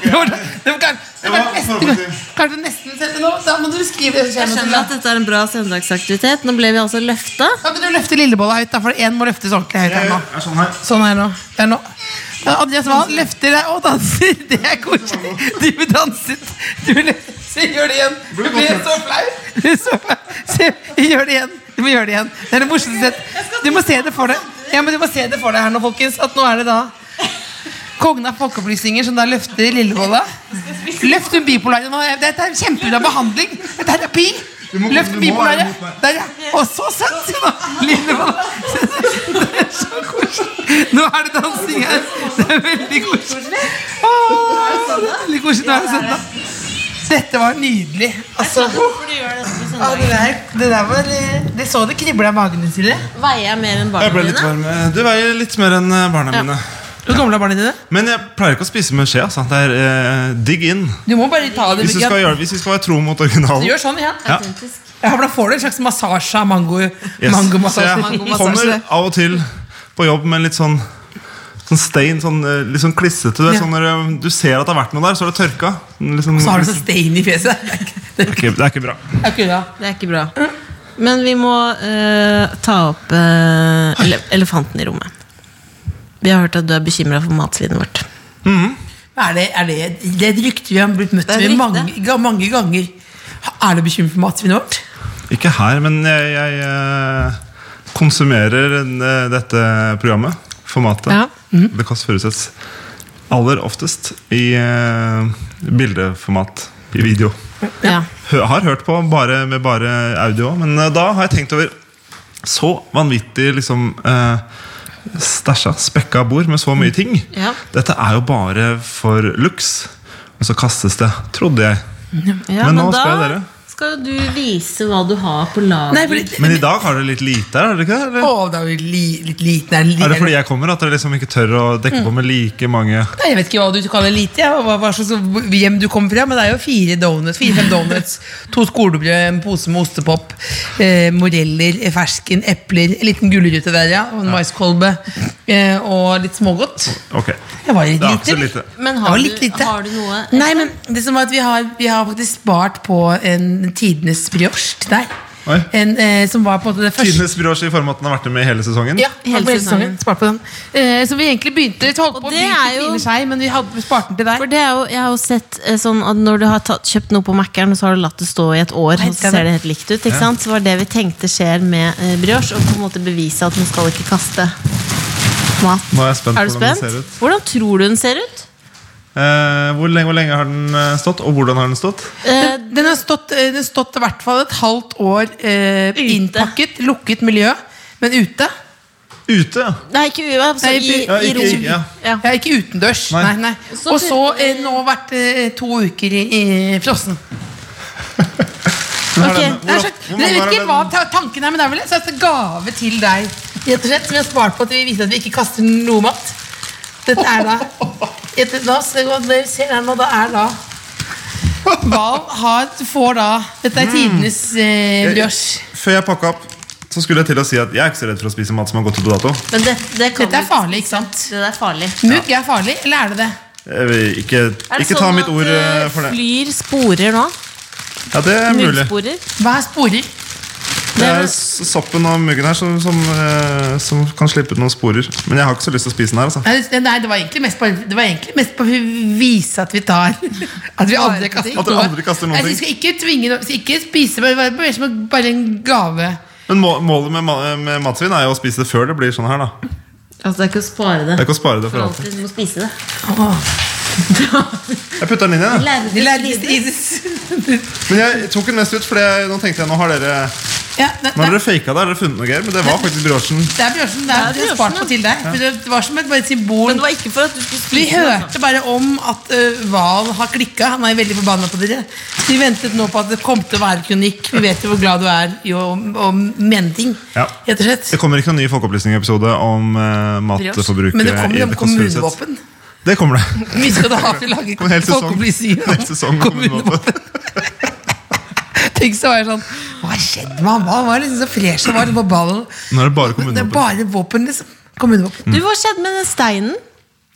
[SPEAKER 4] Det var- det var klart- det var nesten- klarte nesten selv det nå. Da må du beskrive det som
[SPEAKER 3] Jeg
[SPEAKER 4] skjer.
[SPEAKER 3] skjønner at
[SPEAKER 4] Matilda.
[SPEAKER 3] dette er en bra søndagsaktivitet. Nå ble vi altså løfta.
[SPEAKER 4] Da begynner du å løfte lillebolla ut, da, for én må løftes ordentlig høyt her
[SPEAKER 5] Jeg
[SPEAKER 4] nå.
[SPEAKER 5] er sånn her.
[SPEAKER 4] Sånn er det nå. Det er nå. Ja, Andreas Wahl løfter deg og danser. Det er koselig. Du danset. Du løfter. Se, gjør det igjen. Du blir så flau. Du blir så flau. Se, gjør det igjen. Du må gjøre det igjen. Det er det morsomste sett. Du må se det for deg. Ja, men du må se det for deg her nå, folkens. At nå er det da Kongen av folkeopplysninger som da løfter Lillebolla. Løft hun bipolare nå. eh, Dette er kjempebra behandling. Det er terapi.
[SPEAKER 5] Du må-
[SPEAKER 4] Løft
[SPEAKER 5] du må
[SPEAKER 4] bipolare.
[SPEAKER 5] være mot meg.
[SPEAKER 4] Der, ja. Og så søtt, sier nå. Lillebolla. Det er så koselig. Nå er det dansing her. Det er veldig koselig. Åh, det er veldig koselig. Nå er det søndag. Dette var nydelig. Altså, ja, det, der, det der var eh, Det så det kribla i magen din, Silje.
[SPEAKER 3] Veier jeg mer enn
[SPEAKER 5] Jeg ble
[SPEAKER 3] barna
[SPEAKER 5] litt
[SPEAKER 3] dine?
[SPEAKER 5] varm. Eh, Du veier litt mer enn eh, barna mine.
[SPEAKER 4] Hvor gamle er barna dine?
[SPEAKER 5] Men jeg pleier ikke å spise med skje. Altså. Det er eh, digg inn.
[SPEAKER 4] Du må bare ta det.
[SPEAKER 5] Hvis vi skal, gjøre, hvis vi skal være tro mot originalen.
[SPEAKER 4] Gjør sånn, ja.
[SPEAKER 5] Ja.
[SPEAKER 3] Autentisk.
[SPEAKER 4] Ja, for da får du en slags massasje av mango,
[SPEAKER 5] Yes.
[SPEAKER 4] mangomassasje.
[SPEAKER 5] Så jeg kommer av og til på jobb med litt sånn Sånn stein, sånn, eh, litt sånn klissete. du vet,
[SPEAKER 4] Ja.
[SPEAKER 5] Sånn når eh, du ser at det har vært noe der, så er det tørka. Litt sånn-
[SPEAKER 4] Så har du så stein i fjeset. Det er ikke- det
[SPEAKER 5] det, er ikke, det er ikke bra.
[SPEAKER 4] er ikke bra.
[SPEAKER 3] Det er ikke bra. Men vi må eh, ta opp eh, ele elefanten i rommet. Vi har hørt at du er bekymra for matsvinnet vårt.
[SPEAKER 4] Er det, er det, det er et rykte vi har blitt møtt
[SPEAKER 3] Det er et
[SPEAKER 4] med
[SPEAKER 3] rykte.
[SPEAKER 4] mange, ga- mange ganger. Er du bekymret for matsvinnet vårt?
[SPEAKER 5] Ikke her, men jeg, jeg eh, konsumerer eh, dette programmet, formatet.
[SPEAKER 3] Ja. Mm.
[SPEAKER 5] Det Kåss Furuseths aller oftest i eh, bildeformat, i video.
[SPEAKER 3] Ja.
[SPEAKER 5] Hø- har hørt på bare, med bare audio, men eh, da har jeg tenkt over så vanvittig liksom eh, stæsja, spekka bord med så mye ting.
[SPEAKER 3] Mm. Ja.
[SPEAKER 5] Dette er jo bare for looks, og så kastes det, trodde jeg.
[SPEAKER 3] Ja,
[SPEAKER 5] Men nå spør jeg dere.
[SPEAKER 3] skal jo du vise hva du har på lager.
[SPEAKER 4] Nei, fordi,
[SPEAKER 5] Men i dag har dere litt lite her, har dere ikke det? eller?
[SPEAKER 4] å, da er vi li, litt liten. Er,
[SPEAKER 5] Er det fordi jeg kommer at dere liksom ikke tør å dekke på med like mange
[SPEAKER 4] Nei, jeg vet ikke hva du kaller lite, ja, og hva, hva slags hjem du kommer fra, men det er jo fire donuts, fire-fem donuts, to skolebrød, en pose med ostepop, eh, moreller, eh, fersken, epler, en liten gulrute der, ja, og en maiskolbe, eh, og litt smågodt.
[SPEAKER 5] Ok,
[SPEAKER 4] Det var litt
[SPEAKER 5] det er
[SPEAKER 4] lite.
[SPEAKER 5] ikke så lite.
[SPEAKER 3] Men
[SPEAKER 4] Det var
[SPEAKER 3] har du,
[SPEAKER 4] litt lite.
[SPEAKER 3] har du noe?
[SPEAKER 4] Nei, men det som var at vi har, vi har faktisk spart på en tidenes brioche til deg.
[SPEAKER 5] Oi.
[SPEAKER 4] En, eh, som var på en måte det første
[SPEAKER 5] Tidenes brioche i formaten har vært med i hele sesongen.
[SPEAKER 4] ja,
[SPEAKER 3] Hele
[SPEAKER 4] hele sesongen.
[SPEAKER 3] sesongen.
[SPEAKER 4] Spart på den. Eh, så vi egentlig begynte vi holdt på å
[SPEAKER 3] det
[SPEAKER 4] begynne
[SPEAKER 3] er
[SPEAKER 4] til
[SPEAKER 3] jo-
[SPEAKER 4] Tine Skei, men vi hadde spart den til deg.
[SPEAKER 3] For det er jo, jeg har jo sett eh, sånn at når du har tatt, kjøpt noe på Mækkern, og så har du latt det stå i et år, og så ser det helt likt ut. ikke sant? Så var det vi tenkte skjer med eh, brioche, og på en måte bevise at man skal ikke kaste mat.
[SPEAKER 5] Nå er jeg spent
[SPEAKER 3] Er du
[SPEAKER 5] på hvordan
[SPEAKER 3] spent?
[SPEAKER 5] den ser ut.
[SPEAKER 3] Hvordan tror du den ser ut?
[SPEAKER 5] Eh, hvor, lenge, hvor lenge har den eh, stått, og hvordan har den stått?
[SPEAKER 3] Eh,
[SPEAKER 4] Den har stått, eh, den har stått i hvert fall et halvt år eh, innpakket, lukket miljø, men ute.
[SPEAKER 5] Ute, ja.
[SPEAKER 3] nei, ikke u... Altså,
[SPEAKER 4] Nei,
[SPEAKER 3] i,
[SPEAKER 4] i-
[SPEAKER 5] ja,
[SPEAKER 3] i
[SPEAKER 5] ikke-
[SPEAKER 3] rom.
[SPEAKER 5] ja.
[SPEAKER 3] Ja.
[SPEAKER 4] Ja, ikke utendørs. Nei.
[SPEAKER 5] Nei.
[SPEAKER 4] Nei,
[SPEAKER 3] Så
[SPEAKER 4] Og så
[SPEAKER 3] til-
[SPEAKER 4] eh, nå vært eh, to uker i, i frossen.
[SPEAKER 5] Men har
[SPEAKER 3] Ok,
[SPEAKER 5] den- hvor
[SPEAKER 4] Det er
[SPEAKER 5] ofte-
[SPEAKER 4] skjønt.
[SPEAKER 5] hvor
[SPEAKER 4] Dere
[SPEAKER 5] mange
[SPEAKER 4] vet
[SPEAKER 5] har
[SPEAKER 4] ikke
[SPEAKER 5] den-
[SPEAKER 4] hva ta- tanken er, men det er vel en slags gave til deg. Rett og slett, Som vi har spart på at vi viser at vi ikke kaster noe mat. Dette er da Etter, da, se, hva dere ser her nå, da er da Hval har, får da Dette er tidenes eh, brioche.
[SPEAKER 5] Før jeg pakka opp, så skulle jeg til å si at jeg er ikke så redd for å spise mat som har gått ut på dato.
[SPEAKER 3] Men det, det kan
[SPEAKER 4] Dette er
[SPEAKER 3] du-
[SPEAKER 4] farlig, ikke sant?
[SPEAKER 3] Det er farlig.
[SPEAKER 4] Mugg er farlig, eller er det det?
[SPEAKER 5] Jeg vil Ikke,
[SPEAKER 3] Er det
[SPEAKER 5] ikke ta
[SPEAKER 3] sånn
[SPEAKER 5] mitt
[SPEAKER 3] at,
[SPEAKER 5] ord
[SPEAKER 3] eh,
[SPEAKER 5] eh, for det.
[SPEAKER 3] Flyr sporer nå?
[SPEAKER 5] Ja, Det er mulig.
[SPEAKER 3] Muggsporer?
[SPEAKER 4] Hva er sporer?
[SPEAKER 5] Det er s- soppen og muggen her som, som, eh, som kan slippe ut noen sporer. Men jeg har ikke så lyst til å spise den her. altså
[SPEAKER 4] Nei, det- nei, det var egentlig mest på, det var egentlig mest på å vise at vi tar At vi aldri kaster
[SPEAKER 5] At dere aldri kaster noen
[SPEAKER 4] Altså, vi skal ikke tvinge noe- så Ikke spise, men bare, bare, som bare en gave.
[SPEAKER 5] Men må, målet med, ma- med matsvinn er jo å spise det før det blir sånn her. da Det
[SPEAKER 3] Altså, det er ikke å spare det.
[SPEAKER 5] er ikke å spare det for alltid.
[SPEAKER 3] Alltid, du må spise det.
[SPEAKER 5] Jeg putter den inn igjen. jeg.
[SPEAKER 3] Lærer
[SPEAKER 4] De
[SPEAKER 3] du
[SPEAKER 4] lærde
[SPEAKER 3] å spise?
[SPEAKER 4] spises.
[SPEAKER 5] Men jeg tok den mest ut, for jeg- nå tenkte jeg nå har dere
[SPEAKER 4] Ja, nei,
[SPEAKER 5] Nå har
[SPEAKER 4] nei,
[SPEAKER 5] dere faka det, har dere funnet noe greier? Men det var faktisk brosjen.
[SPEAKER 4] det er briochen. Det er,
[SPEAKER 3] Det er
[SPEAKER 4] det er spart
[SPEAKER 3] briochen,
[SPEAKER 4] på til deg. For det var som et bare et symbol.
[SPEAKER 3] Men det var ikke for at du skulle
[SPEAKER 4] Vi
[SPEAKER 3] spise det.
[SPEAKER 4] hørte bare om at eh, Val har klikka. Han er veldig forbanna på dere. Vi ventet nå på at det kom til å være kronikk. Vi vet jo hvor glad du er i å å mene ting.
[SPEAKER 5] Ja.
[SPEAKER 4] Rett og slett.
[SPEAKER 5] Det kommer ikke noen ny folkeopplysningsepisode om eh, matforbruket.
[SPEAKER 4] Men det kommer
[SPEAKER 5] i
[SPEAKER 4] jo om
[SPEAKER 5] konspirasjonshets.
[SPEAKER 4] kommunevåpen.
[SPEAKER 5] Det kommer det.
[SPEAKER 4] Mye skal du ha for å lage
[SPEAKER 5] Kom en hel sesong.
[SPEAKER 4] folkeopplysninger
[SPEAKER 5] En hel sesong om kommunevåpen.
[SPEAKER 4] Tenk så var jeg sånn Hva har skjedd med han? Han var liksom så fresh han var liksom på ballen.
[SPEAKER 5] Nå er det bare
[SPEAKER 4] Det er
[SPEAKER 5] kommunevåpen.
[SPEAKER 4] bare våpen, liksom. Kommunevåpen.
[SPEAKER 5] Mm.
[SPEAKER 3] Du, hva skjedde med den steinen?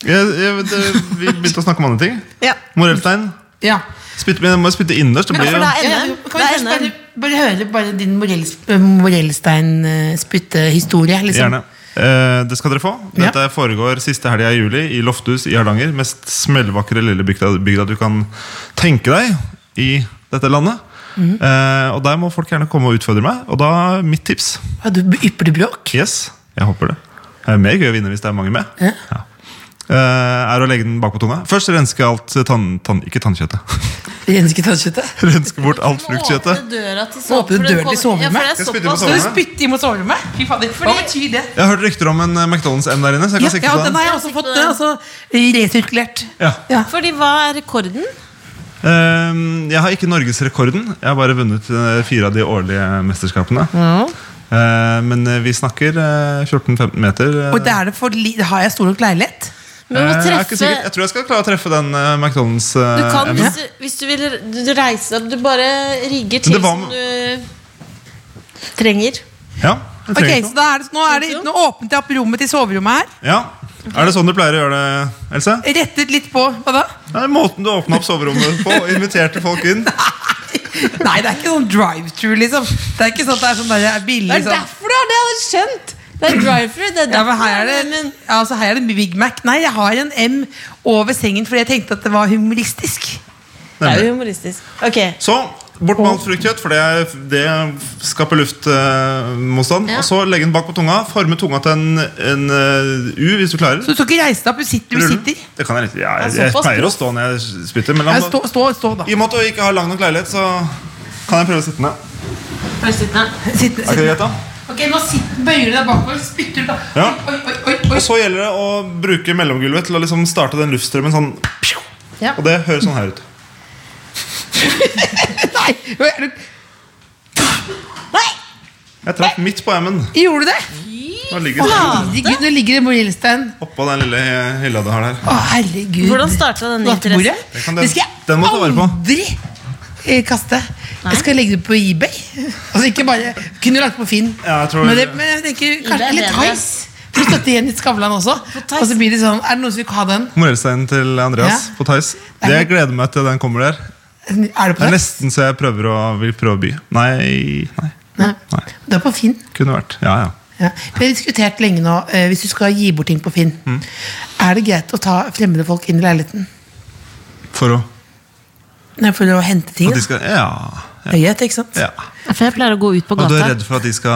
[SPEAKER 5] Jeg, jeg, vet, eh, vi begynte å snakke om andre ting.
[SPEAKER 3] Ja.
[SPEAKER 5] Morellstein.
[SPEAKER 4] Ja.
[SPEAKER 5] Spytte, men jeg må spytte innerst. Det
[SPEAKER 3] Men
[SPEAKER 5] blir
[SPEAKER 4] altså,
[SPEAKER 3] for
[SPEAKER 5] jo
[SPEAKER 3] det er
[SPEAKER 4] Ja,
[SPEAKER 3] NM.
[SPEAKER 4] Kan vi
[SPEAKER 3] Det er
[SPEAKER 4] først
[SPEAKER 3] NM.
[SPEAKER 4] bare, bare høre bare din Morells- Morellstein-spyttehistorie? Liksom.
[SPEAKER 5] Gjerne. Eh, det skal dere få.
[SPEAKER 4] Ja.
[SPEAKER 5] Dette foregår siste helga i juli i Lofthus i Hardanger. Mest smellvakre lille bygda, bygda du kan tenke deg i dette landet.
[SPEAKER 4] Mhm.
[SPEAKER 5] Eh, og der må folk gjerne komme og utfordre meg. Og da mitt tips.
[SPEAKER 4] Ja, du ypper du bråk?
[SPEAKER 5] Yes, jeg håper det. Det er mer gøy å vinne hvis det er mange med.
[SPEAKER 4] Ja.
[SPEAKER 5] Ja. Eh, er å legge den bakpå tunga. Først renske alt tann... tann ikke tannkjøttet.
[SPEAKER 4] Rensker tannkjøttet?
[SPEAKER 5] renske bort alt fruktkjøttet.
[SPEAKER 3] Åpne døra til
[SPEAKER 4] Åpne
[SPEAKER 3] for det
[SPEAKER 4] døra til
[SPEAKER 3] kommer-
[SPEAKER 4] soverommet?
[SPEAKER 3] Ja, for
[SPEAKER 5] Skal jeg
[SPEAKER 3] det er
[SPEAKER 5] spytte
[SPEAKER 4] Skal
[SPEAKER 5] på
[SPEAKER 4] du
[SPEAKER 5] soverommet?
[SPEAKER 4] spytte imot soverommet? Fy fader, Hva betyr det?
[SPEAKER 5] Jeg har hørt rykter om en eh, McDonald's-M der inne. Så
[SPEAKER 4] Ja,
[SPEAKER 5] jeg kan sikte
[SPEAKER 4] ja,
[SPEAKER 5] på
[SPEAKER 4] den
[SPEAKER 5] den.
[SPEAKER 4] har jeg også fått eh, altså, resirkulert.
[SPEAKER 5] Ja.
[SPEAKER 4] Ja.
[SPEAKER 3] såpass- Fordi hva er rekorden?
[SPEAKER 5] Ehm, Jeg har ikke norgesrekorden. Jeg har bare vunnet eh, fire av de årlige mesterskapene. Eh, Men eh, vi snakker eh, 14-15 meter. eh.
[SPEAKER 4] Og det er det for li har jeg stor nok leilighet?
[SPEAKER 3] Men å
[SPEAKER 5] Eh, jeg, er ikke
[SPEAKER 3] treffe
[SPEAKER 5] sikker. jeg tror jeg skal klare å treffe den eh, McDonald's.
[SPEAKER 3] Du kan,
[SPEAKER 5] eh,
[SPEAKER 3] hvis du, hvis du vil du reiser deg Du bare rigger til
[SPEAKER 5] det var-
[SPEAKER 3] som du trenger.
[SPEAKER 5] Ja, jeg
[SPEAKER 4] Ok,
[SPEAKER 5] trenger ikke
[SPEAKER 4] så da er det, nå, er det, nå åpnet jeg opp rommet til soverommet her.
[SPEAKER 5] noe. ja. Er det sånn du pleier å gjøre det, Else?
[SPEAKER 4] Rettet litt på Hva da?
[SPEAKER 5] Det er måten du åpna opp soverommet på og inviterte folk inn.
[SPEAKER 4] Nei, det er ikke sånn drive-through, liksom. Det er ikke sånn at det er sånn der, det er billig sånn.
[SPEAKER 3] derfor du har det hadde skjønt! Det er drive-thru. Det er
[SPEAKER 4] Ja, men
[SPEAKER 3] derfor
[SPEAKER 4] her er
[SPEAKER 3] det
[SPEAKER 4] det,
[SPEAKER 3] er det, men-
[SPEAKER 4] ja, altså, her er det Big Mac. Nei, jeg har en M over sengen fordi jeg tenkte at det var humoristisk.
[SPEAKER 3] det er
[SPEAKER 5] Nemlig.
[SPEAKER 3] jo humoristisk. Ok,
[SPEAKER 5] Så bort med alt fruktkjøtt, for det, er- det skaper luftmotstand.
[SPEAKER 3] Ja.
[SPEAKER 5] Og så legge den bak på tunga. Forme tunga til en, en eh, U, hvis du klarer.
[SPEAKER 4] Så du skal ikke reise deg opp, du sitter du
[SPEAKER 5] Ruller den.
[SPEAKER 4] sitter.
[SPEAKER 5] Det kan jeg litt. Ja, jeg,
[SPEAKER 3] Det er
[SPEAKER 5] jeg
[SPEAKER 3] såpass
[SPEAKER 5] pleier å stå når jeg spytter, men la
[SPEAKER 4] Ja,
[SPEAKER 5] meg-
[SPEAKER 4] stå, stå, stå, da.
[SPEAKER 5] i og med at du ikke har lang nok leilighet, så kan jeg prøve å sitte ned.
[SPEAKER 4] Sitt,
[SPEAKER 5] Er ikke det
[SPEAKER 4] sitt.
[SPEAKER 5] greit, da?
[SPEAKER 4] Ok, nå sitter, bøyer du deg bakover, spytter du da.
[SPEAKER 5] Ja.
[SPEAKER 4] Oi, oi, oi, oi,
[SPEAKER 5] Og
[SPEAKER 4] oi.
[SPEAKER 5] så gjelder det å bruke mellomgulvet til å liksom starte den luftstrømmen sånn.
[SPEAKER 4] Ja.
[SPEAKER 5] Og det høres sånn her ut.
[SPEAKER 4] Nei, er du-
[SPEAKER 5] Jeg traff midt på M-en.
[SPEAKER 4] gjorde du det?
[SPEAKER 5] Nå ligger det
[SPEAKER 4] Herregud, nå ligger det Morillstein.
[SPEAKER 5] oppå den lille hylla du har der.
[SPEAKER 4] Å, herregud.
[SPEAKER 3] Hvordan startet denne
[SPEAKER 4] Nattbordet?
[SPEAKER 3] interessen?
[SPEAKER 5] Det kan den-
[SPEAKER 4] Det skal
[SPEAKER 5] den må du ta
[SPEAKER 4] jeg
[SPEAKER 5] vare på.
[SPEAKER 4] aldri eh, kaste. Jeg skal legge det på eBay. Altså ikke bare, Kunne lagt det på Finn.
[SPEAKER 5] Ja, jeg tror-
[SPEAKER 4] men, det, men jeg tenker kanskje
[SPEAKER 3] er
[SPEAKER 4] litt
[SPEAKER 3] bedre.
[SPEAKER 4] Theis. For å støtte Jenny Skavlan også.
[SPEAKER 3] Theis.
[SPEAKER 4] Og så blir det sånn, Er det noen som vil ha den?
[SPEAKER 5] Morellsteinen til Andreas
[SPEAKER 4] Ja.
[SPEAKER 5] på Theis. Det jeg gleder meg til den kommer der.
[SPEAKER 4] Er det
[SPEAKER 5] Det
[SPEAKER 4] på
[SPEAKER 5] er
[SPEAKER 4] Theis?
[SPEAKER 5] nesten så jeg prøver å, vil prøve å by. Nei, nei,
[SPEAKER 4] Nei.
[SPEAKER 5] nei.
[SPEAKER 4] Det er på Finn.
[SPEAKER 5] Kunne vært. Ja, ja.
[SPEAKER 4] Ja. Vi har diskutert lenge nå, eh, hvis du skal gi bort ting på Finn,
[SPEAKER 5] Mm.
[SPEAKER 4] er det greit å ta fremmede folk inn i leiligheten?
[SPEAKER 5] For å
[SPEAKER 4] Nei, for å hente ting?
[SPEAKER 5] at de
[SPEAKER 4] da.
[SPEAKER 5] skal, Ja.
[SPEAKER 4] Det er greit, ikke sant?
[SPEAKER 5] ja.
[SPEAKER 3] For jeg pleier å gå ut på
[SPEAKER 5] Og du er
[SPEAKER 3] gata.
[SPEAKER 5] redd for at de skal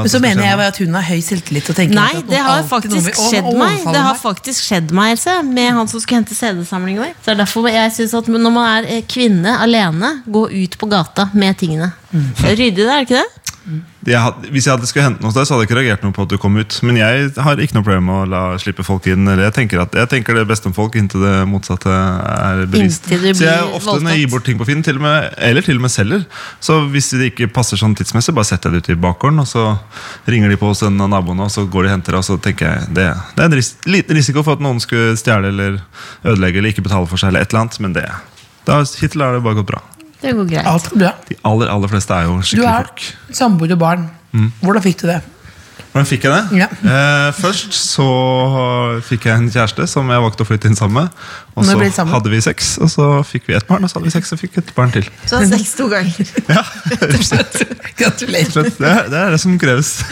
[SPEAKER 4] Men så
[SPEAKER 5] skal
[SPEAKER 4] mener
[SPEAKER 5] skje
[SPEAKER 4] jeg
[SPEAKER 5] noe.
[SPEAKER 4] bare at hun har høy selvtillit. Og tenker
[SPEAKER 3] Nei,
[SPEAKER 4] at
[SPEAKER 3] det
[SPEAKER 4] nå
[SPEAKER 3] har
[SPEAKER 4] alltid noen
[SPEAKER 3] faktisk
[SPEAKER 4] vil- å,
[SPEAKER 3] skjedd
[SPEAKER 4] nå
[SPEAKER 3] meg.
[SPEAKER 4] overfaller
[SPEAKER 3] Det har
[SPEAKER 4] meg.
[SPEAKER 3] faktisk skjedd meg, Else, med han som skulle hente CD-samlingen vår. Så det er derfor jeg synes at når man er eh, kvinne alene, gå ut på gata med tingene. Ryddig, det er det ikke det?
[SPEAKER 5] jeg hadde, hvis jeg hadde skulle hente noe hos deg, så hadde jeg ikke reagert noe på at du kom ut. Men jeg har ikke noe problem med å la slippe folk inn. Eller jeg tenker, at, jeg tenker det beste om folk inntil det motsatte er bevist.
[SPEAKER 3] Inntil det
[SPEAKER 5] Så jeg er
[SPEAKER 3] blir
[SPEAKER 5] ofte når jeg
[SPEAKER 3] voldtatt.
[SPEAKER 5] gir bort ting på Finn, til og med, eller til og med selger. Så hvis det ikke passer sånn tidsmessig, bare setter jeg det ut i bakgården, og så ringer de på hos en av naboene, og så går de og henter det, og så tenker jeg det, det er en ris liten risiko for at noen skulle stjele eller ødelegge eller ikke betale for seg eller et eller annet, men det da, Hittil har det bare gått bra.
[SPEAKER 3] Det går greit.
[SPEAKER 4] Alt går bra.
[SPEAKER 5] De aller, aller fleste er jo
[SPEAKER 4] Du
[SPEAKER 5] skikkelige
[SPEAKER 4] er
[SPEAKER 5] folk.
[SPEAKER 4] samboer og barn.
[SPEAKER 5] Mm.
[SPEAKER 4] Hvordan fikk du det?
[SPEAKER 5] Hvordan fikk jeg det?
[SPEAKER 4] Ja.
[SPEAKER 5] Eh, først så fikk jeg en kjæreste som jeg valgte å flytte inn sammen med. Og
[SPEAKER 4] Når
[SPEAKER 5] så
[SPEAKER 4] ble dere sammen?
[SPEAKER 5] hadde vi sex, og så fikk vi ett barn, og så hadde vi sex og fikk et barn til.
[SPEAKER 3] Så har sex to ganger.
[SPEAKER 4] Gratulerer.
[SPEAKER 5] Så Det, det er det som kreves.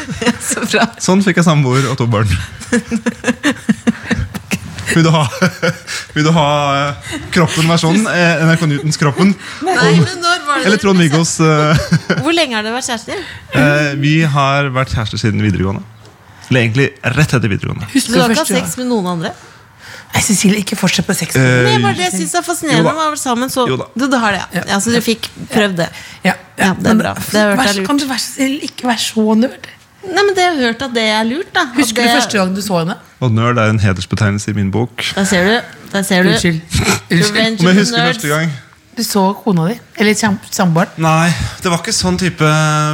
[SPEAKER 3] Så bra.
[SPEAKER 5] Sånn fikk jeg samboer og to barn. Vil du ha, vil du ha eh, kroppen versjonen? Eh, NRK Newtons kroppen?
[SPEAKER 3] Nei, men når var
[SPEAKER 5] Eller
[SPEAKER 3] det
[SPEAKER 5] Trond Viggos eh,
[SPEAKER 3] Hvor lenge har dere vært kjærester?
[SPEAKER 5] eh, Vi har vært kjærester siden videregående. Eller egentlig rett etter videregående.
[SPEAKER 3] Så du har ikke hatt
[SPEAKER 4] første gang?
[SPEAKER 3] sex med noen andre?
[SPEAKER 4] Nei, Cecilie, ikke fortsett på sex.
[SPEAKER 5] Eh,
[SPEAKER 3] Det er bare det jeg syns er
[SPEAKER 5] Jo
[SPEAKER 3] fascinerende.
[SPEAKER 5] da.
[SPEAKER 3] Man har vært sammen så
[SPEAKER 5] Jo da.
[SPEAKER 3] Du, det har det, ja. ja. Så du fikk prøvd det.
[SPEAKER 4] Ja,
[SPEAKER 3] Ja, det er bra. Det har jeg hørt
[SPEAKER 4] vær,
[SPEAKER 3] er lurt.
[SPEAKER 4] Kan du være så snill, ikke være så nerd?
[SPEAKER 3] Nei, men det har jeg hørt at det er lurt, da. At
[SPEAKER 4] Husker
[SPEAKER 3] det,
[SPEAKER 4] du første gang du så henne?
[SPEAKER 5] Og nerd er en hedersbetegnelse i min bok.
[SPEAKER 3] Der ser du. Der ser du. Revenge
[SPEAKER 5] Om
[SPEAKER 3] of
[SPEAKER 5] jeg
[SPEAKER 3] the
[SPEAKER 5] husker
[SPEAKER 3] Nerds.
[SPEAKER 5] første gang
[SPEAKER 4] Du så kona di? Eller sam- samboeren?
[SPEAKER 5] Nei, det var ikke sånn type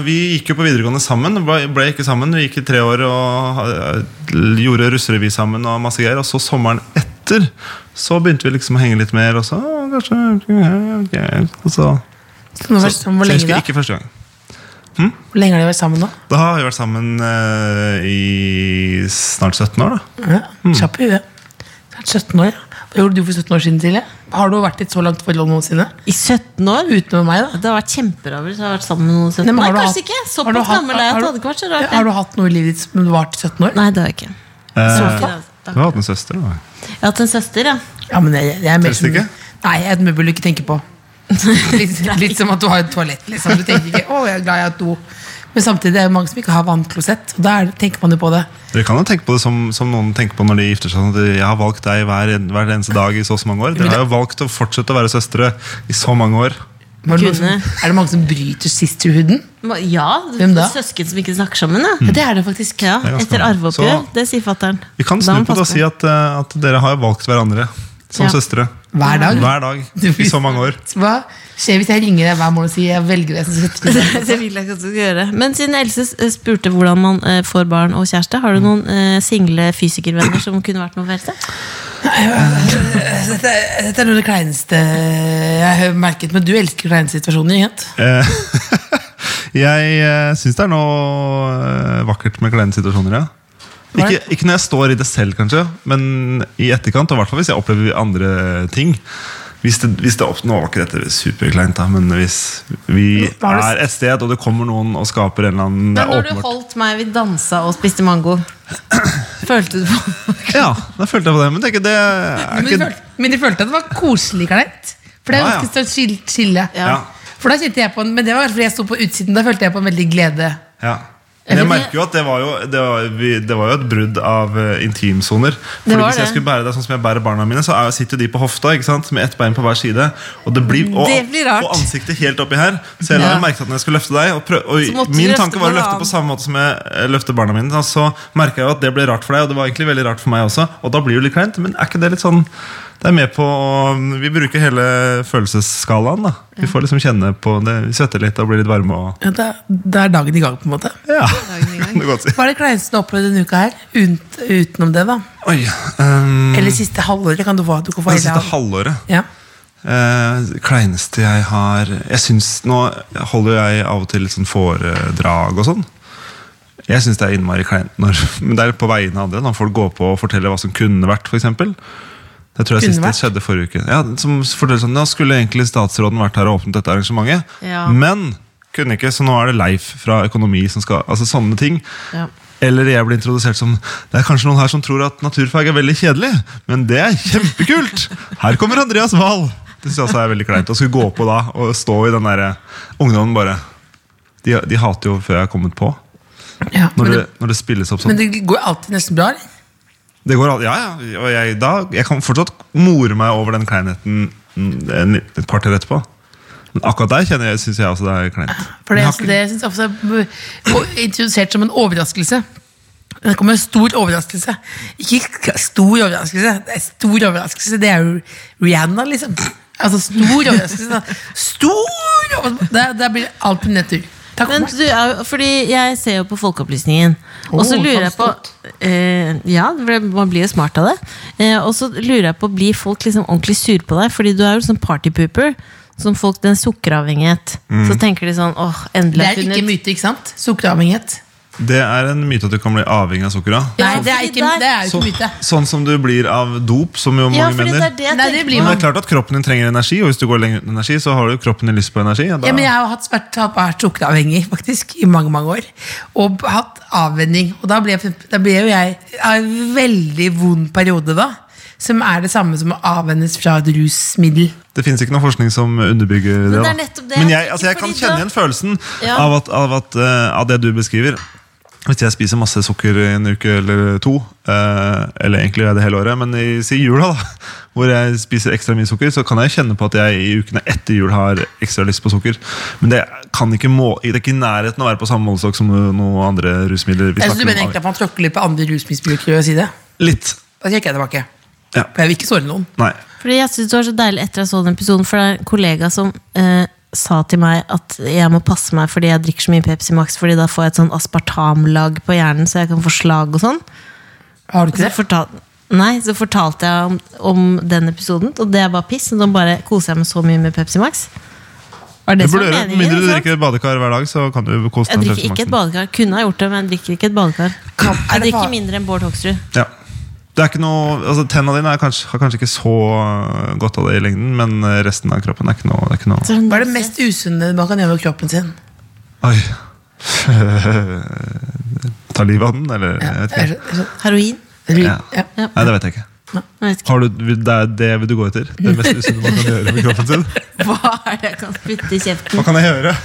[SPEAKER 5] Vi gikk jo på videregående sammen. ble- Ble ikke sammen, Vi gikk i tre år og eh, gjorde russerevy sammen. Og masse greier Og så sommeren etter så begynte vi liksom å henge litt mer. Og så «Å, kanskje ok», og så,
[SPEAKER 4] Som har vært sammen- Hvor
[SPEAKER 5] så jeg
[SPEAKER 4] lenge
[SPEAKER 5] husker
[SPEAKER 4] da?
[SPEAKER 5] ikke første gang.
[SPEAKER 4] Hvor lenge har de vært sammen nå?
[SPEAKER 5] Da har vi vært sammen eh, i snart 17 år, da.
[SPEAKER 4] Ja, Kjapp i huet. Du har vært 17 år. ja. Hva gjorde du for 17 år siden, Silje? Har du vært i et så langt forhold noensinne?
[SPEAKER 3] I 17 år?
[SPEAKER 4] Utenom meg, da.
[SPEAKER 3] Det har vært kjempebra hvis jeg har vært sammen med noen i 17
[SPEAKER 4] Nei,
[SPEAKER 3] år.
[SPEAKER 4] men
[SPEAKER 3] Nei,
[SPEAKER 4] har du
[SPEAKER 3] kanskje
[SPEAKER 4] hatt-
[SPEAKER 3] ikke.
[SPEAKER 4] har du
[SPEAKER 3] Såpass
[SPEAKER 4] hatt-
[SPEAKER 3] gammel er jeg at
[SPEAKER 4] har
[SPEAKER 3] det
[SPEAKER 4] du-
[SPEAKER 3] hadde ikke vært så rart.
[SPEAKER 4] Har
[SPEAKER 3] det.
[SPEAKER 4] du hatt noe i livet ditt som du var til 17 år?
[SPEAKER 3] Nei, det har jeg ikke.
[SPEAKER 5] Eh,
[SPEAKER 3] ikke det,
[SPEAKER 5] du har hatt en søster, da.
[SPEAKER 3] Jeg har hatt en søster, ja.
[SPEAKER 4] Ja, men jeg, jeg er mer
[SPEAKER 5] Helst
[SPEAKER 4] som-
[SPEAKER 5] ikke?
[SPEAKER 4] Nei, jeg er et møbel du ikke tenker på. Litt, litt som at du har et toalett. Liksom. Du tenker ikke 'å, jeg er glad jeg har do'. Men samtidig er det mange som ikke har vannklosett. Og da er det- tenker man jo på det.
[SPEAKER 5] Dere kan jo tenke på det som, som noen tenker på når de gifter seg. Sånn at jeg har valgt deg hver, en- hver eneste dag i så og så mange år. Dere har jo valgt å fortsette å være søstre i så mange år.
[SPEAKER 4] Var det noen som,
[SPEAKER 3] Kunne.
[SPEAKER 4] er det mange som bryter sisterhooden?
[SPEAKER 3] Ma- Ja,
[SPEAKER 4] Hvem da?
[SPEAKER 3] Søsken som ikke snakker sammen, ja.
[SPEAKER 4] Det er det faktisk.
[SPEAKER 3] ja
[SPEAKER 5] er ganske
[SPEAKER 3] etter
[SPEAKER 5] mange.
[SPEAKER 3] arveoppgjør.
[SPEAKER 5] Så-
[SPEAKER 3] Det sier fatter'n.
[SPEAKER 5] Vi kan snu på det og si at, eh, at dere har jo valgt hverandre som
[SPEAKER 3] Ja.
[SPEAKER 5] søstre.
[SPEAKER 4] Hver dag.
[SPEAKER 5] Hver dag i så mange år.
[SPEAKER 4] Hva skjer hvis jeg ringer deg hver morgen og sier jeg velger deg som søster?
[SPEAKER 3] det vil jeg ikke at du skal gjøre. Men siden Else s- spurte hvordan man eh, får barn og kjæreste, har du noen eh, single fysikervenner som kunne vært noe for Else?
[SPEAKER 4] Dette, er- dette er noe av det kleineste jeg har merket. Men du elsker kleine situasjoner. ikke sant?
[SPEAKER 5] Eh, jeg eh, syns det er noe eh, vakkert med kleine situasjoner, ja. Ikke, ikke når jeg står i det selv, kanskje, men i etterkant. Og i hvert fall hvis jeg opplever andre ting. Hvis det, hvis det opp, nå var ikke dette superkleint, da, men hvis vi
[SPEAKER 4] Var det-
[SPEAKER 5] er et sted, og det kommer noen og skaper en eller annen
[SPEAKER 3] Men
[SPEAKER 5] det er
[SPEAKER 3] når du
[SPEAKER 5] åpenbart-
[SPEAKER 3] holdt meg, vi dansa og spiste mango, følte du på
[SPEAKER 5] Ja, da følte jeg på det. Men tenker, det er
[SPEAKER 4] Men de,
[SPEAKER 5] ikke
[SPEAKER 4] følte, men de følte at det var koselig kleint. For det er jo
[SPEAKER 5] Ja, ja.
[SPEAKER 4] ganske stort skil- skille.
[SPEAKER 5] Ja.
[SPEAKER 4] For da kjente jeg på en, Men det var fordi jeg sto på utsiden. Da følte jeg på en veldig glede.
[SPEAKER 5] Ja. Men jeg merker jo at det var jo, det var, vi, det var jo et brudd av eh, intimsoner. Fordi
[SPEAKER 3] var
[SPEAKER 5] Hvis jeg
[SPEAKER 3] det.
[SPEAKER 5] skulle bære deg sånn som jeg bærer barna mine, så er, sitter de på hofta ikke sant? med ett bein på hver side. Og, det blir, og,
[SPEAKER 3] Det blir rart.
[SPEAKER 5] og ansiktet helt oppi her. Så jeg la
[SPEAKER 3] Ja.
[SPEAKER 5] merke til at når jeg skulle løfte deg og prøv,
[SPEAKER 3] Så
[SPEAKER 5] og
[SPEAKER 3] måtte du
[SPEAKER 5] Min
[SPEAKER 3] løfte
[SPEAKER 5] tanke var å
[SPEAKER 3] barna
[SPEAKER 5] løfte
[SPEAKER 3] av.
[SPEAKER 5] på samme måte som jeg eh, løfter barna mine. Da, så merka jeg jo at det ble rart for deg, og det var egentlig veldig rart for meg også. Og da blir det litt kleint, men er ikke det litt sånn det er med på å Vi bruker hele følelsesskalaen. da Vi får liksom kjenne på det. Vi svetter litt og blir litt varme. og
[SPEAKER 4] Ja, da, da er dagen i gang, på en måte.
[SPEAKER 5] Ja, kan du godt si.
[SPEAKER 4] Hva er det kleineste du har opplevd denne uka her? Unt, utenom det, da.
[SPEAKER 5] Oi, ehm,
[SPEAKER 4] Eller siste halvåret? kan du få, du kan få
[SPEAKER 5] det
[SPEAKER 4] hele
[SPEAKER 5] siste
[SPEAKER 4] halv-
[SPEAKER 5] halvåret.
[SPEAKER 4] ja.
[SPEAKER 5] Eh, det kleineste jeg har Jeg synes, Nå holder jeg av og til litt sånn foredrag og sånn. Jeg syns det er innmari kleint, når, men det er på vegne av det. Når folk går på og forteller hva som kunne vært, f.eks. Det tror jeg
[SPEAKER 4] Kunne
[SPEAKER 5] sist det
[SPEAKER 4] vært?
[SPEAKER 5] skjedde forrige uke. Ja, som forteller sånn, Nå skulle egentlig statsråden vært her og åpnet dette arrangementet,
[SPEAKER 3] Ja.
[SPEAKER 5] men kunne ikke, så nå er det Leif fra Økonomi som skal Altså sånne ting.
[SPEAKER 3] Ja.
[SPEAKER 5] Eller jeg blir introdusert som Det er kanskje noen her som tror at naturfag er veldig kjedelig, men det er kjempekult! Her kommer Andreas Wahl! Det synes jeg også er veldig kleint. Å skulle gå på da og stå i den derre ungdommen bare de, de hater jo før jeg har kommet på.
[SPEAKER 4] ja.
[SPEAKER 5] Når
[SPEAKER 4] Men,
[SPEAKER 5] det,
[SPEAKER 4] det,
[SPEAKER 5] når det spilles opp
[SPEAKER 4] men
[SPEAKER 5] sånn.
[SPEAKER 4] det går alltid nesten bra, eller?
[SPEAKER 5] Det går, al- ja, ja, og jeg, da, jeg kan fortsatt more meg over den kleinheten mm, en- et par til etterpå. Men akkurat der kjenner jeg, synes jeg også det er kleint.
[SPEAKER 4] For det,
[SPEAKER 5] Men jeg har
[SPEAKER 4] altså, det synes jeg ofte er b- introdusert som en overraskelse. Det kommer en stor overraskelse. Ikke k- stor overraskelse, det er stor overraskelse. Det er jo Rihanna, liksom. Altså stor overraskelse. da. Stor overraskelse! Der, der blir alt på nedtur. Takk for
[SPEAKER 3] Men
[SPEAKER 4] meg.
[SPEAKER 3] du, er jo- fordi jeg ser jo på Folkeopplysningen, og så
[SPEAKER 4] Åh,
[SPEAKER 3] lurer jeg på
[SPEAKER 4] sant
[SPEAKER 3] eh, Ja, det ble- man blir jo smart av det. Eh, og så lurer jeg på, blir folk liksom ordentlig sure på deg? Fordi du er jo sånn partypooper. som folk, den sukkeravhengighet. Så tenker de sånn åh, endelig
[SPEAKER 4] Det
[SPEAKER 3] har
[SPEAKER 4] er
[SPEAKER 3] jeg
[SPEAKER 4] ikke
[SPEAKER 3] funnet
[SPEAKER 4] myte, ikke sant? Sukkeravhengighet.
[SPEAKER 5] Det er en myte at du kan bli avhengig av sukker. av.
[SPEAKER 4] Nei,
[SPEAKER 3] Ja,
[SPEAKER 4] det er,
[SPEAKER 3] fordi der-
[SPEAKER 4] ikke, det er jo
[SPEAKER 5] Så,
[SPEAKER 4] ikke myte.
[SPEAKER 5] sånn som du blir av dop, som jo mange
[SPEAKER 3] Ja, fordi det
[SPEAKER 5] mener.
[SPEAKER 3] er det jeg
[SPEAKER 4] Nei, det
[SPEAKER 3] tenker
[SPEAKER 4] blir
[SPEAKER 5] Men
[SPEAKER 3] på.
[SPEAKER 5] det er klart at kroppen din trenger energi, og hvis du går lenger uten energi, så har du kroppen din lyst på energi. og Da,
[SPEAKER 4] Ja, men jeg har hatt vært, vært sukkeravhengig faktisk i mange mange år. Og b- hatt avvenning. Og da ble, jeg- da ble jo jeg jeg har en veldig vond periode da. Som er det samme som å avvennes fra et rusmiddel.
[SPEAKER 5] Det finnes ikke noe forskning som underbygger det.
[SPEAKER 3] det er
[SPEAKER 5] da.
[SPEAKER 3] nettopp det, jeg
[SPEAKER 5] Men jeg,
[SPEAKER 3] tenker,
[SPEAKER 5] altså, jeg kan
[SPEAKER 3] fordi
[SPEAKER 5] kjenne
[SPEAKER 3] da-
[SPEAKER 5] igjen følelsen
[SPEAKER 3] Ja.
[SPEAKER 5] av, at, av, at, eh, av det du beskriver. Hvis jeg spiser masse sukker i en uke eller to, eh, eller egentlig gjør jeg det hele året, men i si jula, da, hvor jeg spiser ekstra mye sukker, så kan jeg kjenne på at jeg i ukene etter jul har ekstra lyst på sukker. Men det, kan ikke må, det er ikke i nærheten å være på samme målestokk som noen andre rusmidler. vi
[SPEAKER 4] Jeg synes Altså, du
[SPEAKER 5] snakker
[SPEAKER 4] mener
[SPEAKER 5] om.
[SPEAKER 4] egentlig at man tråkker litt på andre rusmisbrukere ved å si det.
[SPEAKER 5] Litt.
[SPEAKER 4] Da trekker jeg tilbake.
[SPEAKER 5] Ja.
[SPEAKER 4] For jeg vil ikke såre noen.
[SPEAKER 5] Nei.
[SPEAKER 3] Fordi jeg synes det var så deilig etter jeg så den episoden, for det er en kollega som eh, sa til meg at jeg må passe meg fordi jeg drikker så mye Pepsi Max, fordi da får jeg et sånn aspartamlag på hjernen, så jeg kan få slag og sånn.
[SPEAKER 4] Har du ikke
[SPEAKER 3] Så,
[SPEAKER 4] det?
[SPEAKER 3] fortal, nei, så fortalte jeg om, om den episoden, og det er bare piss. og Nå bare koser jeg meg så mye med Pepsi Max. Var
[SPEAKER 5] Det
[SPEAKER 3] det som var
[SPEAKER 5] burde gjøre, Med
[SPEAKER 3] meningen?
[SPEAKER 5] mindre du
[SPEAKER 4] liksom?
[SPEAKER 3] ikke sant?
[SPEAKER 5] drikker badekar hver dag, så kan du kose
[SPEAKER 3] Jeg
[SPEAKER 5] deg
[SPEAKER 3] drikker ikke et badekar. Kunne ha gjort det, men jeg drikker ikke et badekar. Jeg
[SPEAKER 4] det
[SPEAKER 3] drikker
[SPEAKER 4] fa-
[SPEAKER 3] mindre enn Bård Hoksrud.
[SPEAKER 5] Ja. Det er ikke noe, altså Tenna dine er kanskje, har kanskje ikke så øh, godt av det i lengden, men øh, resten av kroppen er ikke noe, det er ikke noe.
[SPEAKER 4] Hva er det mest usunne man kan gjøre med kroppen sin?
[SPEAKER 5] Oi. Ta livet av den, eller? Jeg vet ikke.
[SPEAKER 3] Heroin?
[SPEAKER 5] Ja.
[SPEAKER 4] Ja.
[SPEAKER 5] Nei, det vet jeg ikke.
[SPEAKER 3] Jeg vet ikke.
[SPEAKER 5] Har du, vil- det er det vil du gå etter? Det mest usunne man kan gjøre med kroppen sin?
[SPEAKER 3] Hva er det jeg kan putte i kjeften?
[SPEAKER 5] Hva kan jeg gjøre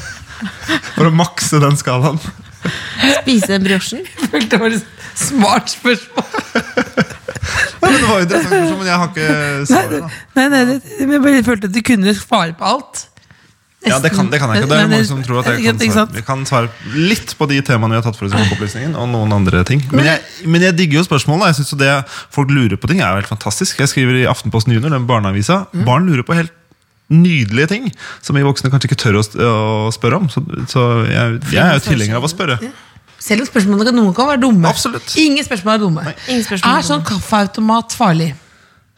[SPEAKER 5] for å makse den skalaen?
[SPEAKER 3] Spise den brosjen?
[SPEAKER 4] Det var et smart spørsmål.
[SPEAKER 5] Ja, men det var jo interessant, spørsmål, men jeg har ikke svaret. da.
[SPEAKER 4] Nei, nei, det, jeg bare følte at du kunne svare på alt.
[SPEAKER 5] Ja, det kan, det kan jeg ikke. Det
[SPEAKER 4] Men-
[SPEAKER 5] er jo
[SPEAKER 4] men-
[SPEAKER 5] mange som tror at jeg
[SPEAKER 4] ikke
[SPEAKER 5] kan
[SPEAKER 4] sant, ikke
[SPEAKER 5] svare,
[SPEAKER 4] sant?
[SPEAKER 5] jeg kan svare litt på de temaene vi har tatt for oss i Folkeopplysningen, og noen andre ting. Men jeg, men jeg digger jo spørsmålene. Jeg synes jo det Folk lurer på ting er jo helt fantastisk. Jeg skriver i Aftenposten Junior, den barneavisa.
[SPEAKER 4] Mm.
[SPEAKER 5] Barn lurer på helt nydelige ting som vi voksne kanskje ikke tør å, s- å spørre om. Så, så jeg, jeg er jo tilhenger
[SPEAKER 4] sånn?
[SPEAKER 5] av å spørre.
[SPEAKER 4] Selv om spørsmålene kan, noen kan være dumme.
[SPEAKER 5] Absolutt.
[SPEAKER 4] Ingen spørsmål er dumme.
[SPEAKER 3] Ingen spørsmål er
[SPEAKER 4] er sånn kaffeautomat farlig?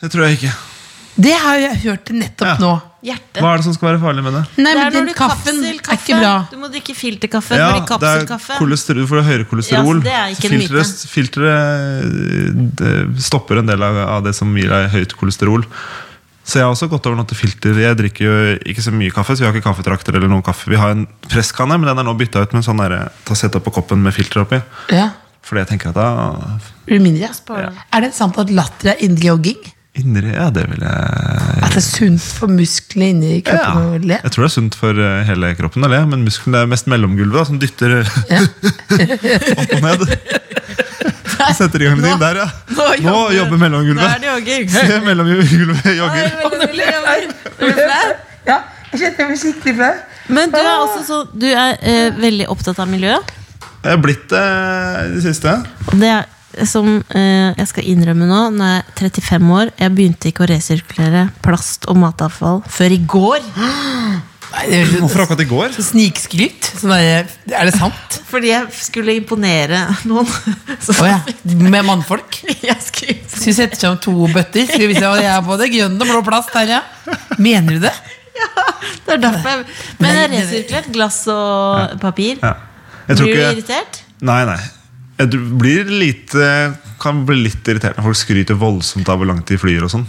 [SPEAKER 5] Det tror jeg ikke.
[SPEAKER 4] Det har jeg hørt nettopp
[SPEAKER 5] Ja.
[SPEAKER 4] nå.
[SPEAKER 3] Hjerte?
[SPEAKER 5] Hva er det som skal være farlig med det?
[SPEAKER 4] Nei,
[SPEAKER 3] Det
[SPEAKER 4] men
[SPEAKER 3] er når
[SPEAKER 4] den
[SPEAKER 3] du
[SPEAKER 4] kaffen
[SPEAKER 3] kapsel
[SPEAKER 4] er ikke
[SPEAKER 3] kaffe.
[SPEAKER 4] bra.
[SPEAKER 3] Du må drikke filterkaffe.
[SPEAKER 5] Ja,
[SPEAKER 3] fordi
[SPEAKER 5] det er
[SPEAKER 3] kapselkaffe
[SPEAKER 5] kolesterol for det høyere
[SPEAKER 3] Ja,
[SPEAKER 5] kolesterol.
[SPEAKER 3] så det er ikke en myte.
[SPEAKER 5] Filteret filteret, eh, det stopper en del av, av det som gir deg høyt kolesterol. Så jeg har også gått over noe til filter. Jeg drikker jo ikke så mye kaffe, så vi har ikke kaffetrakter eller noe kaffe. Vi har en presskanne, men den er nå bytta ut med en sånn derre ta sett opp på koppen med filter oppi.
[SPEAKER 4] Ja,
[SPEAKER 5] Fordi jeg tenker at da
[SPEAKER 4] blir det mindre.
[SPEAKER 3] Sparer det.
[SPEAKER 4] Er det sant at latter er indre jogging?
[SPEAKER 5] Indre Ja, det vil jeg
[SPEAKER 4] At det er sunt for musklene inni
[SPEAKER 5] ja.
[SPEAKER 4] kroppen? å le?
[SPEAKER 5] Jeg tror det er sunt for eh, hele kroppen å le, men muskelen er mest mellomgulvet, da, som dytter eh, opp og ned. Setter i gang litt der, ja. Nå, jobber
[SPEAKER 3] Da er
[SPEAKER 5] mellomgulvet.
[SPEAKER 3] det jogging.
[SPEAKER 5] Se, mellomgulvet
[SPEAKER 3] Da er
[SPEAKER 5] jogger.
[SPEAKER 3] det veldig jogging. Er du flau?
[SPEAKER 4] Ja, jeg kjenner meg skikkelig flau.
[SPEAKER 3] Men du er også så, du er eh, veldig opptatt av miljø.
[SPEAKER 5] Jeg er blitt det i det siste.
[SPEAKER 3] Og det er som eh, jeg skal innrømme nå, når jeg er 35 år Jeg begynte ikke å resirkulere plast og matavfall før i går.
[SPEAKER 4] Nei, det høres ut
[SPEAKER 5] Hvorfor akkurat i går?
[SPEAKER 4] som snikskryt. Sånn der, er det sant?
[SPEAKER 3] Fordi jeg skulle imponere noen. Så
[SPEAKER 4] Å ja. Med mannfolk?
[SPEAKER 3] jeg skulle
[SPEAKER 4] Skal vi sette sammen to bøtter? Skal vi vise hva det er på det? Grønn og blå plast, Terje. Mener du det?
[SPEAKER 3] Det er derfor jeg Men jeg resirkulerte glass og papir.
[SPEAKER 5] Ja. Jeg tror
[SPEAKER 3] Blir du
[SPEAKER 5] ikke
[SPEAKER 3] irritert?
[SPEAKER 5] Nei, nei. Jeg tror- blir lite, kan bli litt irritert når folk skryter voldsomt av hvor langt de flyr og sånn.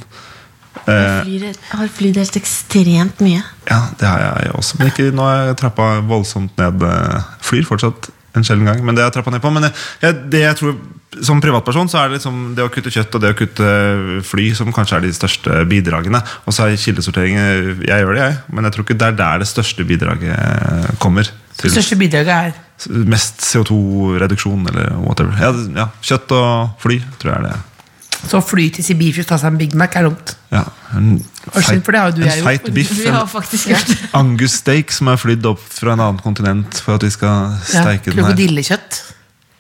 [SPEAKER 5] Eh,
[SPEAKER 3] Jeg har flydelt ekstremt mye.
[SPEAKER 5] Ja, det har jeg også. Men ikke, nå har jeg trappa voldsomt ned. eh, Flyr fortsatt en sjelden gang, men det har jeg trappa ned på. Men jeg, jeg, det jeg tror, som privatperson så er det liksom det å kutte kjøtt og det å kutte fly som kanskje er de største bidragene. Og så er kildesortering eh, Jeg gjør det, jeg, men jeg tror ikke det er der det største bidraget eh, kommer.
[SPEAKER 4] Det
[SPEAKER 5] Til
[SPEAKER 4] største bidraget er
[SPEAKER 5] s- mest CO2-reduksjon eller whatever. Ja, det- ja, kjøtt og fly, tror jeg er det.
[SPEAKER 4] Så fly til Sibir for å ta seg en Big Mac er dumt.
[SPEAKER 5] Ja, en
[SPEAKER 4] Og skjønn,
[SPEAKER 5] feit,
[SPEAKER 4] for det har jo du
[SPEAKER 5] en
[SPEAKER 4] jeg gjort.
[SPEAKER 5] feit biff.
[SPEAKER 3] Vi
[SPEAKER 5] en-
[SPEAKER 3] har faktisk gjort det.
[SPEAKER 5] Angus steak som er flydd opp fra en annen kontinent for at vi skal
[SPEAKER 4] Ja,
[SPEAKER 5] steike den her.
[SPEAKER 4] Krokodillekjøtt.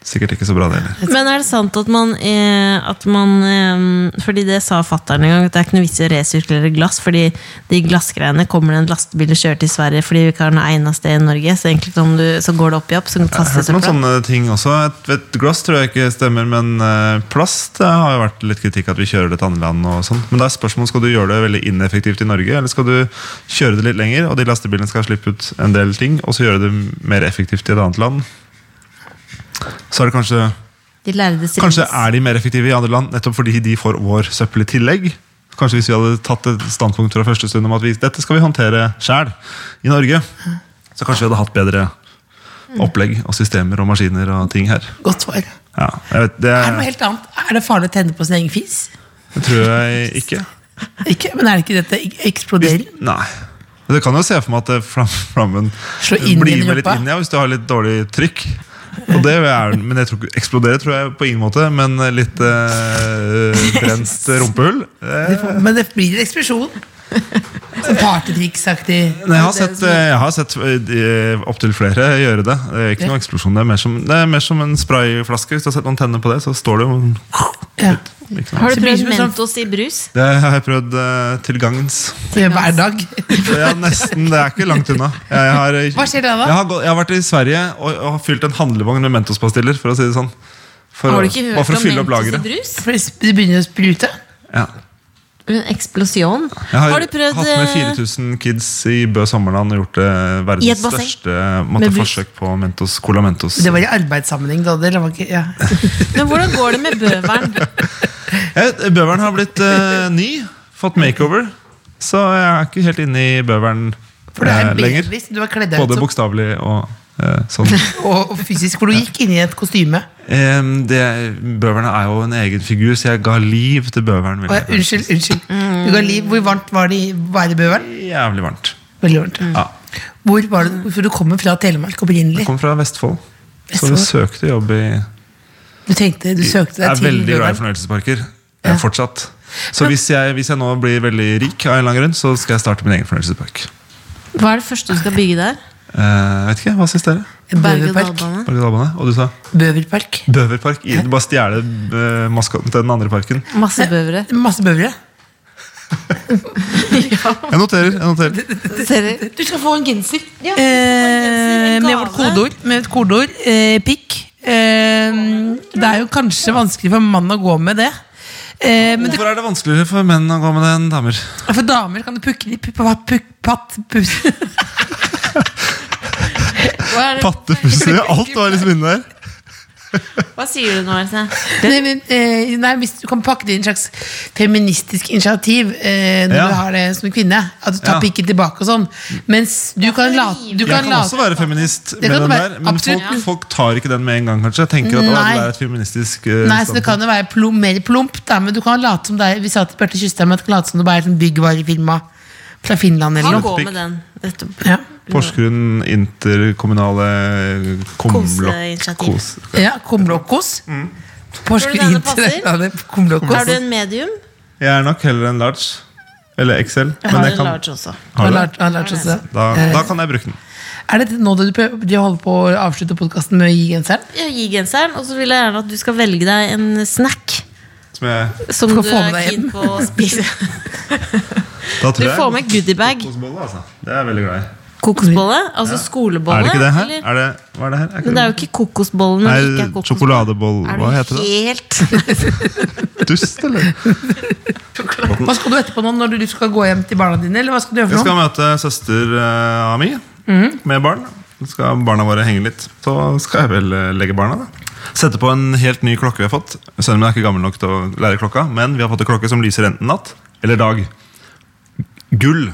[SPEAKER 5] Sikkert ikke så bra, det heller.
[SPEAKER 3] Men er det sant at man, eh, at man eh, Fordi det sa fatteren en gang, at det er ikke noe vits i å resirkulere glass, fordi de glassgreiene kommer det en lastebil og kjører til Sverige fordi vi ikke har noe egnet sted i Norge. Så egentlig om du, så går det opp i opp, så
[SPEAKER 5] Jeg har
[SPEAKER 3] kastes
[SPEAKER 5] hørt
[SPEAKER 3] det
[SPEAKER 5] noen
[SPEAKER 3] på.
[SPEAKER 5] sånne ting også. Et, et glass tror jeg ikke stemmer, men eh, plast det har jo vært litt kritikk at vi kjører det til andre land. og sånt. Men da er spørsmålet, skal du gjøre det veldig ineffektivt i Norge, eller skal du kjøre det litt lenger, og de lastebilene skal slippe ut en del ting, og så gjøre det mer effektivt i et annet land? Så er det kanskje,
[SPEAKER 3] De lærde strides.
[SPEAKER 5] kanskje er de mer effektive i andre land nettopp fordi de får vår søppel i tillegg? Kanskje hvis vi hadde tatt et standpunkt fra første stund om at vi, dette skal vi håndtere sjæl i Norge, så kanskje vi hadde hatt bedre opplegg og systemer og maskiner og ting her.
[SPEAKER 4] Godt svar. Er
[SPEAKER 5] Ja, jeg vet, det,
[SPEAKER 4] det noe helt annet? Er det farlig å tenne på sin egen fis?
[SPEAKER 5] det tror jeg ikke.
[SPEAKER 4] Ikke, men er det ikke dette ek- eksploderer?
[SPEAKER 5] Nei. Men du kan jo se for meg at det flam, flammen
[SPEAKER 4] Slå inn i
[SPEAKER 5] blir
[SPEAKER 4] den
[SPEAKER 5] med litt
[SPEAKER 4] rumpa.
[SPEAKER 5] inn, ja, hvis du har litt dårlig trykk. Og det er, den, men jeg tror ikke Eksplodere tror jeg på ingen måte, men litt eh, brent rumpehull eh,
[SPEAKER 4] Det får- Men det blir en eksplosjon. Sånn partytriksaktig.
[SPEAKER 5] Nei, jeg har sett, jeg har sett eh, opptil flere gjøre det. Det er ikke noe eksplosjon. Det er mer som, det er mer som en sprayflaske. Hvis du har sett noen tenne på det, så står det jo
[SPEAKER 4] Ja.
[SPEAKER 5] ikke noe.
[SPEAKER 3] Har
[SPEAKER 4] Så
[SPEAKER 3] du
[SPEAKER 4] blir det
[SPEAKER 3] prøvd
[SPEAKER 4] som en sånn-
[SPEAKER 3] Mentos i brus?
[SPEAKER 5] Det har jeg prøvd eh, til gangens.
[SPEAKER 4] Det er Hver dag.
[SPEAKER 5] Ja, nesten. Det er ikke langt unna. Jeg har, eh,
[SPEAKER 4] Hva skjer da, da?
[SPEAKER 5] Jeg har, gå- jeg har vært i Sverige og, og har fylt en handlevogn med Mentos-pastiller. For å si det sånn. For,
[SPEAKER 3] Har
[SPEAKER 5] å-
[SPEAKER 3] du ikke
[SPEAKER 5] bare
[SPEAKER 3] hørt
[SPEAKER 5] for å
[SPEAKER 3] om
[SPEAKER 5] fylle opp
[SPEAKER 3] Mentos i
[SPEAKER 5] lageret.
[SPEAKER 3] brus?
[SPEAKER 4] For det begynner å sprute.
[SPEAKER 5] Ja.
[SPEAKER 3] En eksplosjon?
[SPEAKER 5] Jeg har,
[SPEAKER 3] Har du prøvd
[SPEAKER 5] hatt med
[SPEAKER 3] eh,
[SPEAKER 5] 4000 kids i Bø Sommerland og gjort det
[SPEAKER 3] I et
[SPEAKER 5] verdens
[SPEAKER 3] basseng?
[SPEAKER 5] største måtte,
[SPEAKER 3] Med brus?
[SPEAKER 5] forsøk på Mentos, Cola Mentos.
[SPEAKER 4] Det var i arbeidssammenheng, da. Det var ikke, ja.
[SPEAKER 3] Men hvordan går det med bøveren?
[SPEAKER 5] Jeg- Bøveren har blitt eh, ny. Fått makeover. Så jeg er ikke helt inne i bøveren
[SPEAKER 4] For det er
[SPEAKER 5] eh,
[SPEAKER 4] en
[SPEAKER 5] lenger.
[SPEAKER 4] baby som du har kledd deg ut
[SPEAKER 5] Både
[SPEAKER 4] som.
[SPEAKER 5] bokstavelig og eh, sånn.
[SPEAKER 4] Og, og fysisk, for du gikk inn i et kostyme.
[SPEAKER 5] Em, det, bøverne er jo en egen figur, så jeg ga liv til bøveren. vil
[SPEAKER 4] Og,
[SPEAKER 5] jeg gjerne si.
[SPEAKER 4] unnskyld, unnskyld. Du ga liv. Hvor varmt var det i Værebøveren?
[SPEAKER 5] Jævlig varmt.
[SPEAKER 4] Veldig varmt.
[SPEAKER 5] Ja.
[SPEAKER 4] Hvor var det, for du kommer fra Telemark
[SPEAKER 5] Mm. Jeg
[SPEAKER 4] opprinnelig.
[SPEAKER 5] kom fra Vestfold, så
[SPEAKER 4] Vestfold.
[SPEAKER 5] vi søkte jobb i
[SPEAKER 4] Du tenkte, du søkte
[SPEAKER 5] Jeg
[SPEAKER 4] deg
[SPEAKER 5] er
[SPEAKER 4] til
[SPEAKER 5] veldig glad i
[SPEAKER 4] Bøveren.
[SPEAKER 5] fornøyelsesparker. eh, Fortsatt. Så hvis jeg, hvis jeg nå blir veldig rik, av en eller annen grunn, så skal jeg starte min egen fornøyelsespark.
[SPEAKER 3] Hva er det første du skal bygge der?
[SPEAKER 5] Eh, vet ikke, Hva syns dere?
[SPEAKER 4] En Bøverpark.
[SPEAKER 3] Berge-og-dal-bane?
[SPEAKER 5] Bergedalbane? Og du sa
[SPEAKER 4] Bøverpark.
[SPEAKER 5] Bøverpark. I- Du bare stjele eh, maskotten til den andre parken.
[SPEAKER 3] Masse bøvere.
[SPEAKER 4] Masse bøvere.
[SPEAKER 5] Jeg noterer. jeg noterer
[SPEAKER 3] Ser
[SPEAKER 4] Du skal få en genser.
[SPEAKER 3] Ja,
[SPEAKER 4] eh,
[SPEAKER 3] en
[SPEAKER 4] med
[SPEAKER 3] gave.
[SPEAKER 4] vårt kodeord. Med et kodeord eh, pikk. Eh, det er jo kanskje vanskelig for en mann å gå med det. Eh, men det,
[SPEAKER 5] Hvorfor er det vanskeligere for menn å gå med det enn damer?
[SPEAKER 4] for damer kan du pukke litt pukk, pukk, patt, pus.
[SPEAKER 3] Hva, er det,
[SPEAKER 5] Pattepusser. Alt var liksom inne der.
[SPEAKER 3] hva sier du nå, Else?
[SPEAKER 4] Nei, men, eh, nei, hvis du kan pakke det i en slags feministisk initiativ eh, når
[SPEAKER 5] Ja.
[SPEAKER 4] du har det som kvinne. At du tar
[SPEAKER 5] Ja.
[SPEAKER 4] pikken tilbake og sånn. Mens du kan late du
[SPEAKER 5] Jeg
[SPEAKER 4] kan
[SPEAKER 5] kan
[SPEAKER 4] late-
[SPEAKER 5] også være feminist
[SPEAKER 4] kan
[SPEAKER 5] med
[SPEAKER 4] du
[SPEAKER 5] den
[SPEAKER 4] være,
[SPEAKER 5] der, men
[SPEAKER 4] absolutt.
[SPEAKER 5] folk, folk tar ikke den med en gang, kanskje. Tenker at å,
[SPEAKER 4] Nei.
[SPEAKER 5] det er et feministisk eh,
[SPEAKER 4] Nei, så det kan jo være plom, mer plumpt, da, men du kan late som det er Vi sa til Bjarte Kystad, men du kan late som det bare er sånn byggvarefirma fra Finland eller
[SPEAKER 3] Han
[SPEAKER 4] noe.
[SPEAKER 3] går med den. Dette
[SPEAKER 4] Ja.
[SPEAKER 5] Porsgrunn interkommunale komlokk...
[SPEAKER 3] Koseinitiativ.
[SPEAKER 5] Kos.
[SPEAKER 4] ja Kumlokkos.
[SPEAKER 3] Tror
[SPEAKER 4] Porsgrunn
[SPEAKER 3] du denne Har du
[SPEAKER 4] Kumlokkos.
[SPEAKER 3] en medium?
[SPEAKER 5] Jeg er nok heller en large. Eller XL.
[SPEAKER 3] Jeg har
[SPEAKER 5] Men jeg
[SPEAKER 3] en
[SPEAKER 5] kan,
[SPEAKER 3] large også.
[SPEAKER 5] har
[SPEAKER 4] Han
[SPEAKER 5] du det?
[SPEAKER 4] lærte- han lærte oss det.
[SPEAKER 5] da, da kan jeg bruke den.
[SPEAKER 4] Er det nå da du prøver, de holder på å avslutte podkasten med å gi genseren?
[SPEAKER 3] Jeg gir genseren, og så vil jeg gjerne at du skal velge deg en snack.
[SPEAKER 5] Som jeg,
[SPEAKER 3] Som
[SPEAKER 4] Skal
[SPEAKER 3] du
[SPEAKER 4] få med
[SPEAKER 3] er
[SPEAKER 4] deg
[SPEAKER 3] keen på å spise.
[SPEAKER 5] da
[SPEAKER 3] Du
[SPEAKER 5] tror jeg
[SPEAKER 3] får med goodiebag.
[SPEAKER 5] kokosbolle, altså. Det er jeg veldig glad i.
[SPEAKER 3] Kokosbolle? Altså skolebolle?
[SPEAKER 5] Er det ikke det her?
[SPEAKER 3] eller?
[SPEAKER 5] Er det, hva er det her? Er ikke
[SPEAKER 3] Men det er jo ikke kokosbolle når det ikke er
[SPEAKER 5] Nei,
[SPEAKER 3] kokosbolle.
[SPEAKER 5] sjokoladebolle
[SPEAKER 3] Er du
[SPEAKER 5] Hva heter det?
[SPEAKER 3] Helt
[SPEAKER 5] Dust, eller?
[SPEAKER 4] Hva skal du etterpå nå når du skal gå hjem til barna dine? Eller hva skal du gjøre
[SPEAKER 5] Jeg
[SPEAKER 4] for
[SPEAKER 5] skal
[SPEAKER 4] noe?
[SPEAKER 5] møte søster uh, mi
[SPEAKER 4] Mhm.
[SPEAKER 5] med barn. Så skal barna våre henge litt. Så skal jeg vel eh, legge barna, da. Sette på en helt ny klokke vi har fått. Selv om jeg er ikke gammel nok til å lære klokka. Men vi har fått en klokke som lyser enten natt eller dag. Gull.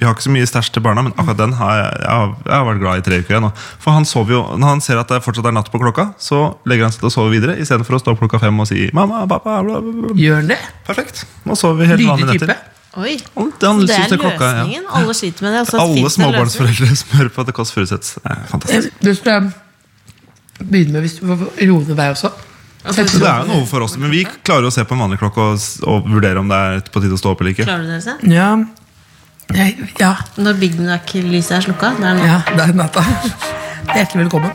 [SPEAKER 5] Vi har ikke så mye stæsj til barna, men akkurat den har jeg, jeg, har, jeg har vært glad i i tre uker. jeg nå. For han sover jo, Når han ser at det fortsatt er natt på klokka, så legger han seg til å sove videre istedenfor å stå opp klokka fem og si 'mamma, pappa'. Bla, bla, bla.
[SPEAKER 4] Gjør han det?
[SPEAKER 5] Perfekt. Nå sover vi helt vanlige
[SPEAKER 4] Lydig
[SPEAKER 5] netter.
[SPEAKER 4] type?
[SPEAKER 3] Oi.
[SPEAKER 5] Han- han
[SPEAKER 3] det
[SPEAKER 5] synes
[SPEAKER 3] er
[SPEAKER 5] det klokka, ja.
[SPEAKER 3] løsningen. Alle sliter med det. Altså,
[SPEAKER 5] Alle
[SPEAKER 3] finnes det en løsning?
[SPEAKER 5] småbarnsforeldre som hører på at det Kåss Furuseths. Det er fantastisk.
[SPEAKER 4] Du skal begynne med hvis du får roe ned deg også.
[SPEAKER 3] Altså,
[SPEAKER 5] Så det er jo noe for oss, men vi klarer å se på en vanlig klokke og, s- og vurdere om det er på tide å stå opp eller ikke.
[SPEAKER 3] Klarer du det, Else?
[SPEAKER 4] Ja. Jeg, ja.
[SPEAKER 3] Når Big Mac-lyset er slukka? Det er nå.
[SPEAKER 4] Ja, det er natta. Hjertelig velkommen.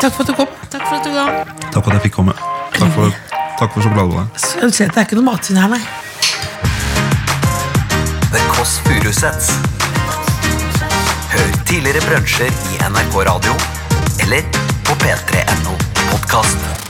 [SPEAKER 4] Takk for at du kom. Takk
[SPEAKER 3] for at du kom.
[SPEAKER 5] Takk for at jeg fikk komme. Takk for, takk for sjokoladebollen.
[SPEAKER 4] Skal du se, Det er ikke noe matsvinn her, nei.
[SPEAKER 2] The Kåss Furuseths. Hør tidligere brunsjer i NRK Radio eller på p3.no podkast.